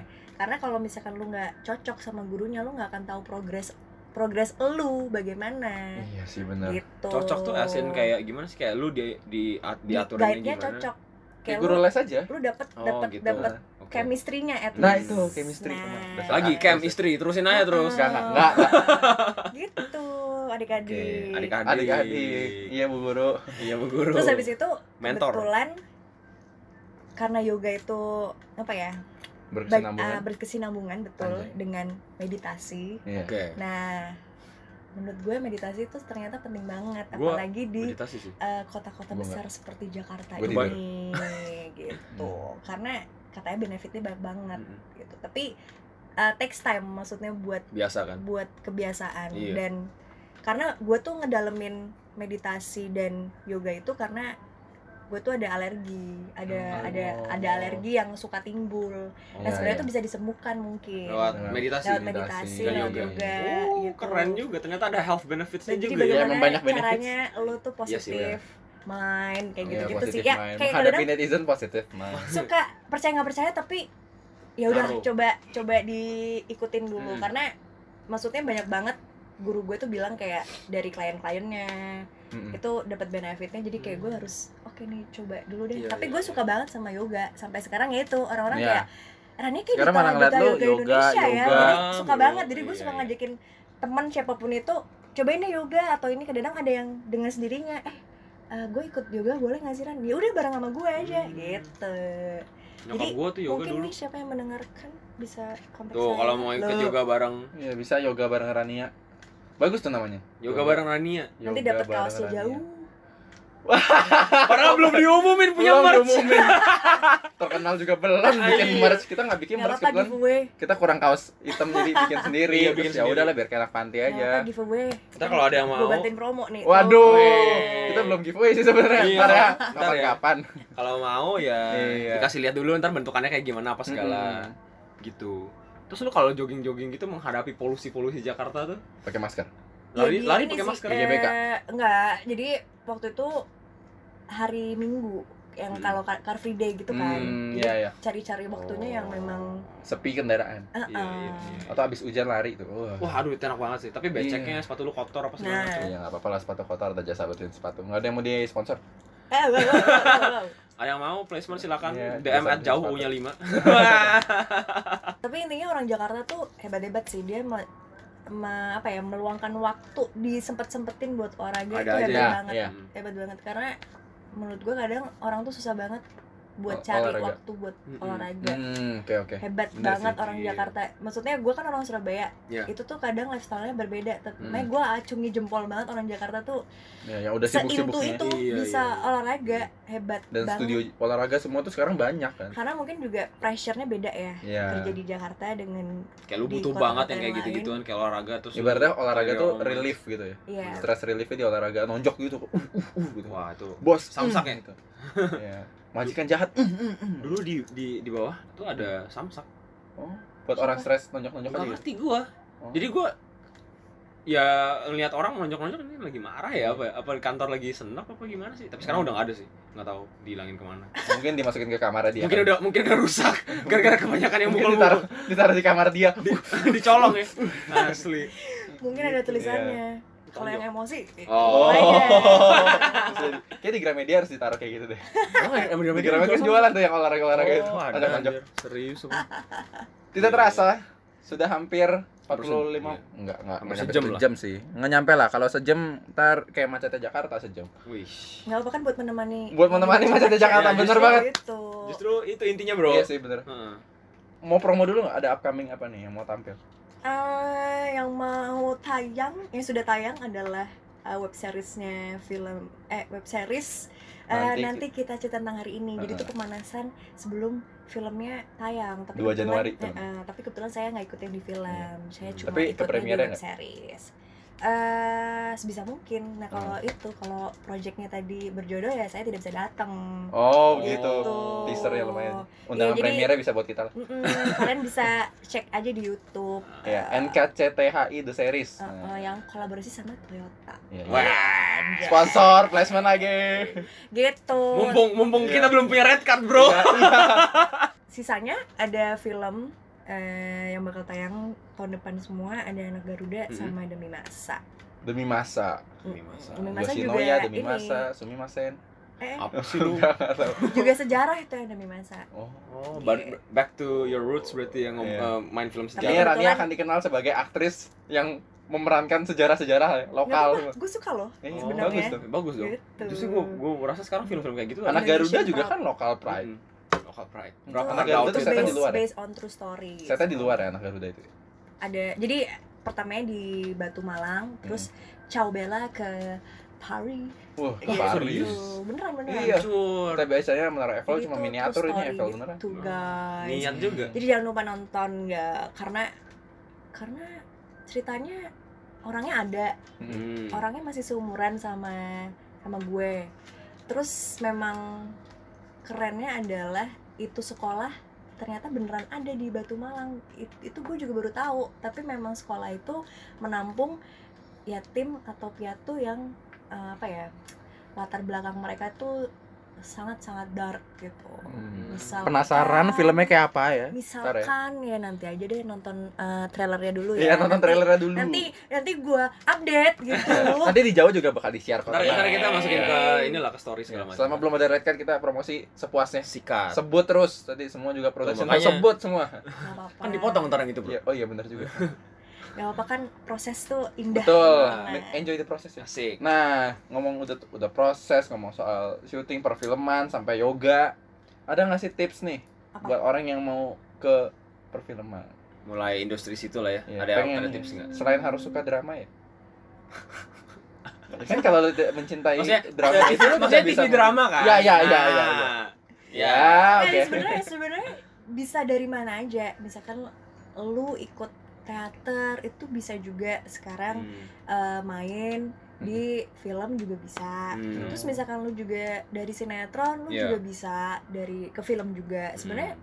Gurunya. karena kalau misalkan lu nggak cocok sama gurunya lu nggak akan tahu progres progres elu bagaimana Iya sih benar. gitu cocok tuh asin kayak gimana sih kayak lu di di at- diaturannya guide-nya gimana cocok kayak Kayak guru lu, les aja. lu dapet Oh, dapet gitu. dapet Oke. chemistry-nya at Nah least. itu chemistry. Nah. Nah. Udah salah. lagi cam istri terusin aja terus Enggak, enggak, enggak, enggak. gitu adik-adik Oke, adik-adik. Adik-adik. Iya Bu Guru. Iya, Bu Guru. terus habis itu mentor. kebetulan karena yoga itu apa ya baik- ah, Berkesinambungan. berkesinambungan betul Anjay. dengan meditasi Iya. Oke. nah menurut gue meditasi itu ternyata penting banget Gua apalagi di Meditasi sih. eh, kota-kota Gua besar seperti Jakarta Gua tidur. ini gitu karena katanya benefitnya banyak banget Mm-mm. gitu tapi eh, takes time maksudnya buat Biasa kan? buat kebiasaan Iya. dan karena gue tuh ngedalemin meditasi dan yoga itu karena gue tuh ada alergi ada Hmm. ada ada alergi yang suka timbul Oh, nah Iya, sebenarnya iya. tuh bisa disembuhkan mungkin Lewat Lewat meditasi. lewat meditasi, meditasi Nah. lewat lewat yoga. yoga Oh, gitu. keren juga. Ternyata ada health benefits-nya jadi juga ya. emang bagaimana banyak benefits. caranya lo tuh Iya sih, positif main kayak Iya, gitu gitu sih positif ya mind. kayak Menghadapi kadang netizen positif mind. suka percaya nggak percaya tapi ya udah Ngaruh. coba coba diikutin dulu Hmm. karena maksudnya banyak banget guru gue tuh bilang kayak dari klien-kliennya Mm-mm. itu dapat benefitnya jadi kayak Hmm. gue harus oke nih coba dulu deh Iya, tapi iya, gue iya. suka banget sama yoga sampai sekarang ya itu orang-orang Iya. kayak Rani kayak Sekarang malah duta- ngeliat duta lu yoga yoga, Indonesia ya yoga. Jadi suka Ah, banget belum. jadi gue Iya, suka iya. ngajakin teman siapapun itu cobain deh yoga atau ini kadang ada yang dengan sendirinya eh eh, gue ikut yoga boleh nggak sih Ran? Ya udah bareng sama gue aja Hmm. gitu. Nyokap Jadi, gua tuh yoga Mungkin dulu. nih siapa yang mendengarkan bisa kontak Tuh, saya. kalau mau ikut Lu. yoga bareng, Iya bisa yoga bareng Rania. Bagus tuh namanya. yoga ya. bareng Rania. Yoga nanti dapat bareng kaosnya Rania. jauh. Padahal [laughs] belum diumumin punya belum merch. [laughs] diumumin. Terkenal juga belum bikin Iya. merch. Kita nggak bikin Gak merch apa-apa kebetulan. giveaway. Kita kurang kaos hitam jadi [laughs] bikin sendiri. Iya, bikin Terus ya sendiri. udahlah biar kayak anak panti Gak apa-apa aja. giveaway. Ntar Iya. kalau ada yang Gue mau, bantuin promo nih. Waduh, Weh. kita belum giveaway sih sebenarnya. Iya. Ntar ya, Ntar kapan ya. kapan. kalau mau ya Iya. dikasih lihat dulu ntar bentukannya kayak gimana apa segala gitu. Terus lu kalau jogging-jogging gitu menghadapi polusi-polusi Jakarta tuh, Pakai masker. Ya, lari di- lari ini pakai sih, masker. eh, GBK. enggak, jadi waktu itu hari Minggu yang Hmm. kalau Car, Car Free Day gitu kan. Hmm, Jadi iya iya. cari-cari waktunya yang memang Sepi kendaraan eh, Iya, iya, eh. iya. atau abis hujan lari tuh. Oh. Wah. Wah, aduh itu enak banget sih. Tapi Iya. beceknya sepatu lu kotor apa segala Nah. macam. Iya, nggak apa-apa lah sepatu kotor ada jasa betulin sepatu. Nggak ada yang mau di sponsor. Eh, wow, wow, wow, wow. Ada yang mau placement silakan Iya, DM bisa at jauh beli U-nya 5. Tapi intinya orang Jakarta tuh hebat-hebat sih dia me- me- apa ya meluangkan waktu disempet-sempetin buat olahraga Ada itu aja, hebat ya, banget. [laughs] iya. Hebat banget karena menurut gue kadang orang tuh susah banget Ol- buat cari olahraga. waktu buat Mm-mm. olahraga. Hmm, oke oke. hebat Bener banget sih, orang iya. Jakarta. Maksudnya gue kan orang Surabaya, Iya. itu tuh kadang lifestyle-nya berbeda. Ya. Tapi Hmm. makanya gue acungi jempol banget orang Jakarta tuh Ya, yang udah seintu sibuk-sibuknya. itu Iya, bisa iya. olahraga hebat Dan banget. studio olahraga semua tuh sekarang banyak kan. Karena mungkin juga pressure-nya beda ya Iya. kerja di Jakarta dengan Kayak lu Di butuh kota-kota banget yang kayak yang gitu-gituan kayak olahraga terus. lu- Ibaratnya olahraga Iya, tuh olahraga. relief gitu ya. ya Stress reliefnya di olahraga nonjok gitu. Uh, uh, uh, gitu. Wah, itu. Bos Samsak ya? gitu. Iya. Majikan jahat. Hmm, mm, mm, mm. Dulu di di di bawah tuh ada samsak. Oh, buat orang stres nonjok-nonjok Enggak aja gitu. ngerti gua. Oh. Jadi gua ya ngeliat orang nonjok-nonjok ini lagi marah ya apa apa di kantor lagi senap apa gimana sih tapi sekarang udah nggak ada sih nggak tahu dihilangin kemana Mungkin dimasukin ke kamar dia. mungkin udah [laughs] mungkin udah rusak gara-gara kebanyakan yang Mungkin mukul-mukul ditaruh, ditaruh di kamar dia. di, [laughs] dicolong ya asli mungkin ada Gitu, Iya. tulisannya. Kalau yang Tonjok. emosi, ya. Oh. aja. [laughs] Kayak di Gramedia harus ditaruh kayak gitu deh. oh, yang Di Gramedia kan jualan tuh yang olahraga-olahraga itu. Oh, Ada nonjok. anjir. serius apa? Tidak terasa sudah hampir 40 45 enggak Iya. enggak Sampai sampai sejam lah. sejam sih. Enggak nyampe lah kalau sejam ntar kayak macetnya Jakarta sejam. Wih. nggak apa kan buat menemani Buat menemani macetnya Jakarta Iya, bener justru- banget. itu Justru itu intinya, Bro. Iya sih bener. Heeh. Mau promo dulu nggak ada upcoming apa nih yang mau tampil? Eh, yang mau tayang yang sudah tayang adalah eh, web seriesnya film eh web series Eh, Nanti- nanti, kita cerita tentang hari ini jadi itu Uh-uh. pemanasan sebelum filmnya tayang tapi 2 kebetulan- Januari. eh, eh, tapi kebetulan saya nggak ikutin di film saya Hmm. cuma Tapi ke ikutnya di premiernya web series Eh, sebisa mungkin nah kalau itu kalau projectnya tadi berjodoh ya saya tidak bisa datang Oh, Oh. gitu. Gitu. Teasernya lumayan. Undangan Iya, jadi- premiernya bisa buat kita lah. Mm-mm, kalian bisa [laughs] cek aja di YouTube. Ya, Eh, NKCTHI The Series. eh, eh, Nah, yang kolaborasi sama Toyota. iya, iya. Wah. Sponsor placement lagi. Gitu. Mumpung mumpung Iya. kita belum punya red card, Bro. Iya, iya. Sisanya ada film eh, yang bakal tayang tahun depan semua ada anak Garuda Mm-mm. sama Demi Masa. Mm, Demi masa. Demi Masa. Demi Masa juga Yoshinoya, demi ini. masa, Sumi Masen. Eh, Apa sih [laughs] lu? Enggak enggak tahu. juga sejarah itu yang Demi Masa. Oh. Oh, ba- back to your roots berarti yang ngom- Iya. eh, main film Ini Tapi sejarah. Iya. Rania akan dikenal sebagai aktris yang memerankan sejarah-sejarah lokal. Gue suka loh. Eh, bagus sebenarnya. tuh. Bagus dong. Gitu. Justru gua gua rasa sekarang film-film kayak gitu Anak Garuda Indonesia juga banget. kan lokal pride. Mm. Local pride. Itu Rock anak and Garuda roll tuh outfit. setan di Based- luar ya? Based on true story. gitu. Saya di luar ya anak Garuda itu. Ada. Jadi pertamanya di Batu Hmm. Malang, terus Ciao Bella ke Paris. Wah, Iya, Paris. serius. Gitu. Beneran beneran. Iya. Hancur. Kita biasanya menaruh Eiffel Jadi cuma itu miniatur true ini story Eiffel beneran. gitu, guys. Niat juga. Jadi jangan lupa nonton ya karena karena ceritanya orangnya ada, Hmm. orangnya masih seumuran sama sama gue. Terus memang kerennya adalah itu sekolah ternyata beneran ada di Batu Malang. It- itu gue juga baru tahu, tapi memang sekolah itu menampung yatim atau piatu yang eh, apa ya? latar belakang mereka tuh sangat-sangat dark gitu. Hmm. Misalkan- Penasaran filmnya kayak apa ya? misalkan ya. nanti aja deh nonton eh, trailernya dulu ya Iya, nonton Nanti- trailernya dulu. nanti nanti gue update gitu [laughs] Nanti di Jawa juga bakal di-share kok. Ntar, ntar kita Iya. masukin ke Iya. inilah ke story segala macam. Selama belum ada red card kita promosi sepuasnya. sikat. Sebut terus tadi semua juga production makanya. sebut semua. Nggak apa-apa Kan dipotong ntar yang itu, Bro. Iya, oh iya benar juga. Nggak apa-apa kan proses tuh indah Betul. banget. Nah. Enjoy the process ya. Asik. Nah, ngomong udah udah proses, ngomong soal syuting perfilman sampai yoga. Ada nggak sih tips nih Apa? buat orang yang mau ke perfilman? Mulai industri situ lah ya. Iya, ada pengen ada nih. tips enggak? Selain harus suka drama ya? kan kalau lu tidak mencintai Maksudnya drama ada- itu lu maksudnya tidak bisa TV drama kan? Ya, ya, ya, ya, ya. Nah, Ya, Nah, oke. sebenarnya sebenarnya bisa dari mana aja misalkan lu ikut teater itu bisa juga sekarang Hmm. eh, main Hmm. di film juga bisa Hmm. Terus misalkan lu juga dari sinetron, lu Iya. juga bisa dari ke film Hmm. juga. Sebenarnya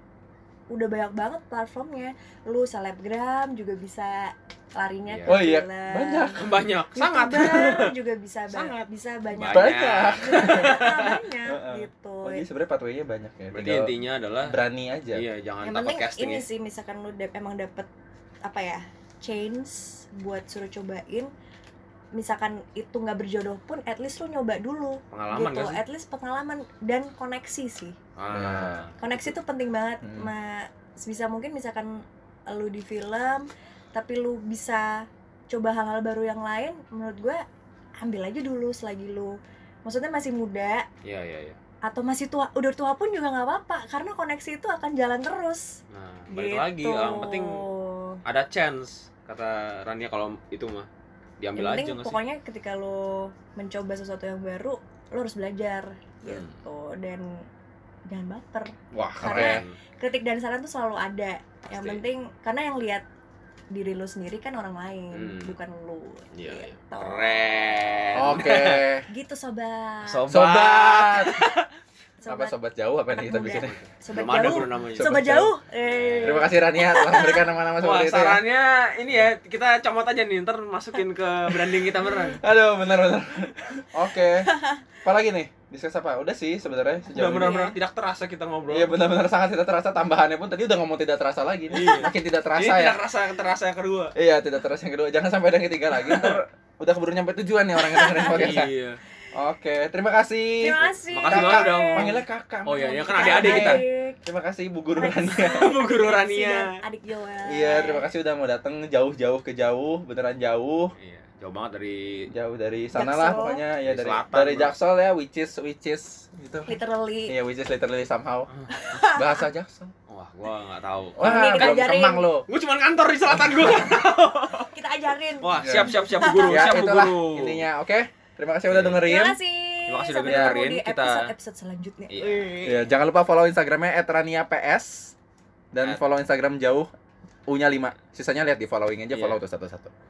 udah banyak banget platformnya. Lu selebgram juga bisa larinya Iya. ke Oh iya, film. banyak. Hmm. banyak. Sangat. YouTuber [laughs] juga bisa ba- Sangat. bisa banyak. Banyak. banyak, Heeh. gitu. Oh, jadi sebenarnya pathway-nya banyak ya. Berarti Tinggal intinya adalah berani aja. iya jangan Yang takut penting casting ini ya. sih misalkan lu dap- emang dapet apa ya? chance buat suruh cobain misalkan itu nggak berjodoh pun at least lu nyoba dulu Pengalaman gitu kan sih. at least pengalaman dan koneksi sih Nah. Ah. koneksi tuh penting banget Hmm. nah sebisa mungkin misalkan lu di film tapi lu bisa coba hal-hal baru yang lain menurut gue ambil aja dulu selagi lu maksudnya masih muda Iya, iya, iya. atau masih tua udah tua pun juga nggak apa-apa karena koneksi itu akan jalan terus Nah, balik lagi Gitu. yang penting ada chance kata Rania kalau itu mah yang diambil aja penting nggak sih? pokoknya ketika lu mencoba sesuatu yang baru lu harus belajar Hmm. gitu dan jangan baper Wah, Karena- keren. kritik dan saran tuh selalu ada. Yang Pasti. penting karena yang lihat diri lu sendiri kan orang lain, Hmm. bukan lu. Iya, iya. Gitu. Keren. Oke. Gitu sobat. Sobat. Sobat. Apa sobat sobat jauh apa nih kita Muda. bikin? sobat Belum ada jauh. bro namanya. Sobat, Sobat jauh. jauh. Iya, Eh. Terima kasih Rania telah memberikan nama-nama Wah, seperti itu. Ya. sarannya ini ya, kita comot aja nih, ntar masukin ke branding kita beneran. Aduh, benar-benar. Oke. Apa lagi nih? Diskus apa? Udah sih sebenarnya Udah sejauh ini. benar-benar tidak terasa kita ngobrol. Iya benar-benar sangat tidak terasa tambahannya pun tadi udah ngomong tidak terasa lagi nih. Makin tidak Ini terasa ya. Iya, tidak terasa terasa yang kedua. Iya, tidak terasa yang kedua. Jangan sampai ada yang ketiga lagi. Ntar udah keburu nyampe tujuan nih orang yang dengerin podcast. Iya. Oke, Oke, terima kasih. Terima kasih. ya Makasih banget udah ngomong. Panggilnya kakak. Oh iya, iya, kan ada adik kita. Adik. Terima kasih Ibu Guru Makasih. Rania. Bu [laughs] Guru Makasih Rania. dan Adik Joel. Iya, terima kasih udah mau datang jauh-jauh ke jauh, beneran jauh, Iya, jauh banget dari jauh dari sanalah Jaksel. pokoknya ya Dari dari selatan, dari bro. Jaksel ya, which is which is gitu. Literally. Iya, which is literally somehow bahasa Jaksel. Wah, gua nggak tahu. Wah, kita belum ajarin. kemang lo. Gua cuman kantor di selatan gua. Kita ajarin. Wah, siap siap siap Bu Guru, Ya, siap Bu itulah Guru. intinya. Oke, terima kasih udah Iya. dengerin. Terima kasih. Terima kasih udah Sampai ketemu dengerin. di Kita- episode-episode selanjutnya. Iya. Iya, jangan lupa follow Instagramnya @rania_ps dan At- follow Instagram jauh U-nya 5. Sisanya lihat di following aja, Iya. follow tuh satu-satu.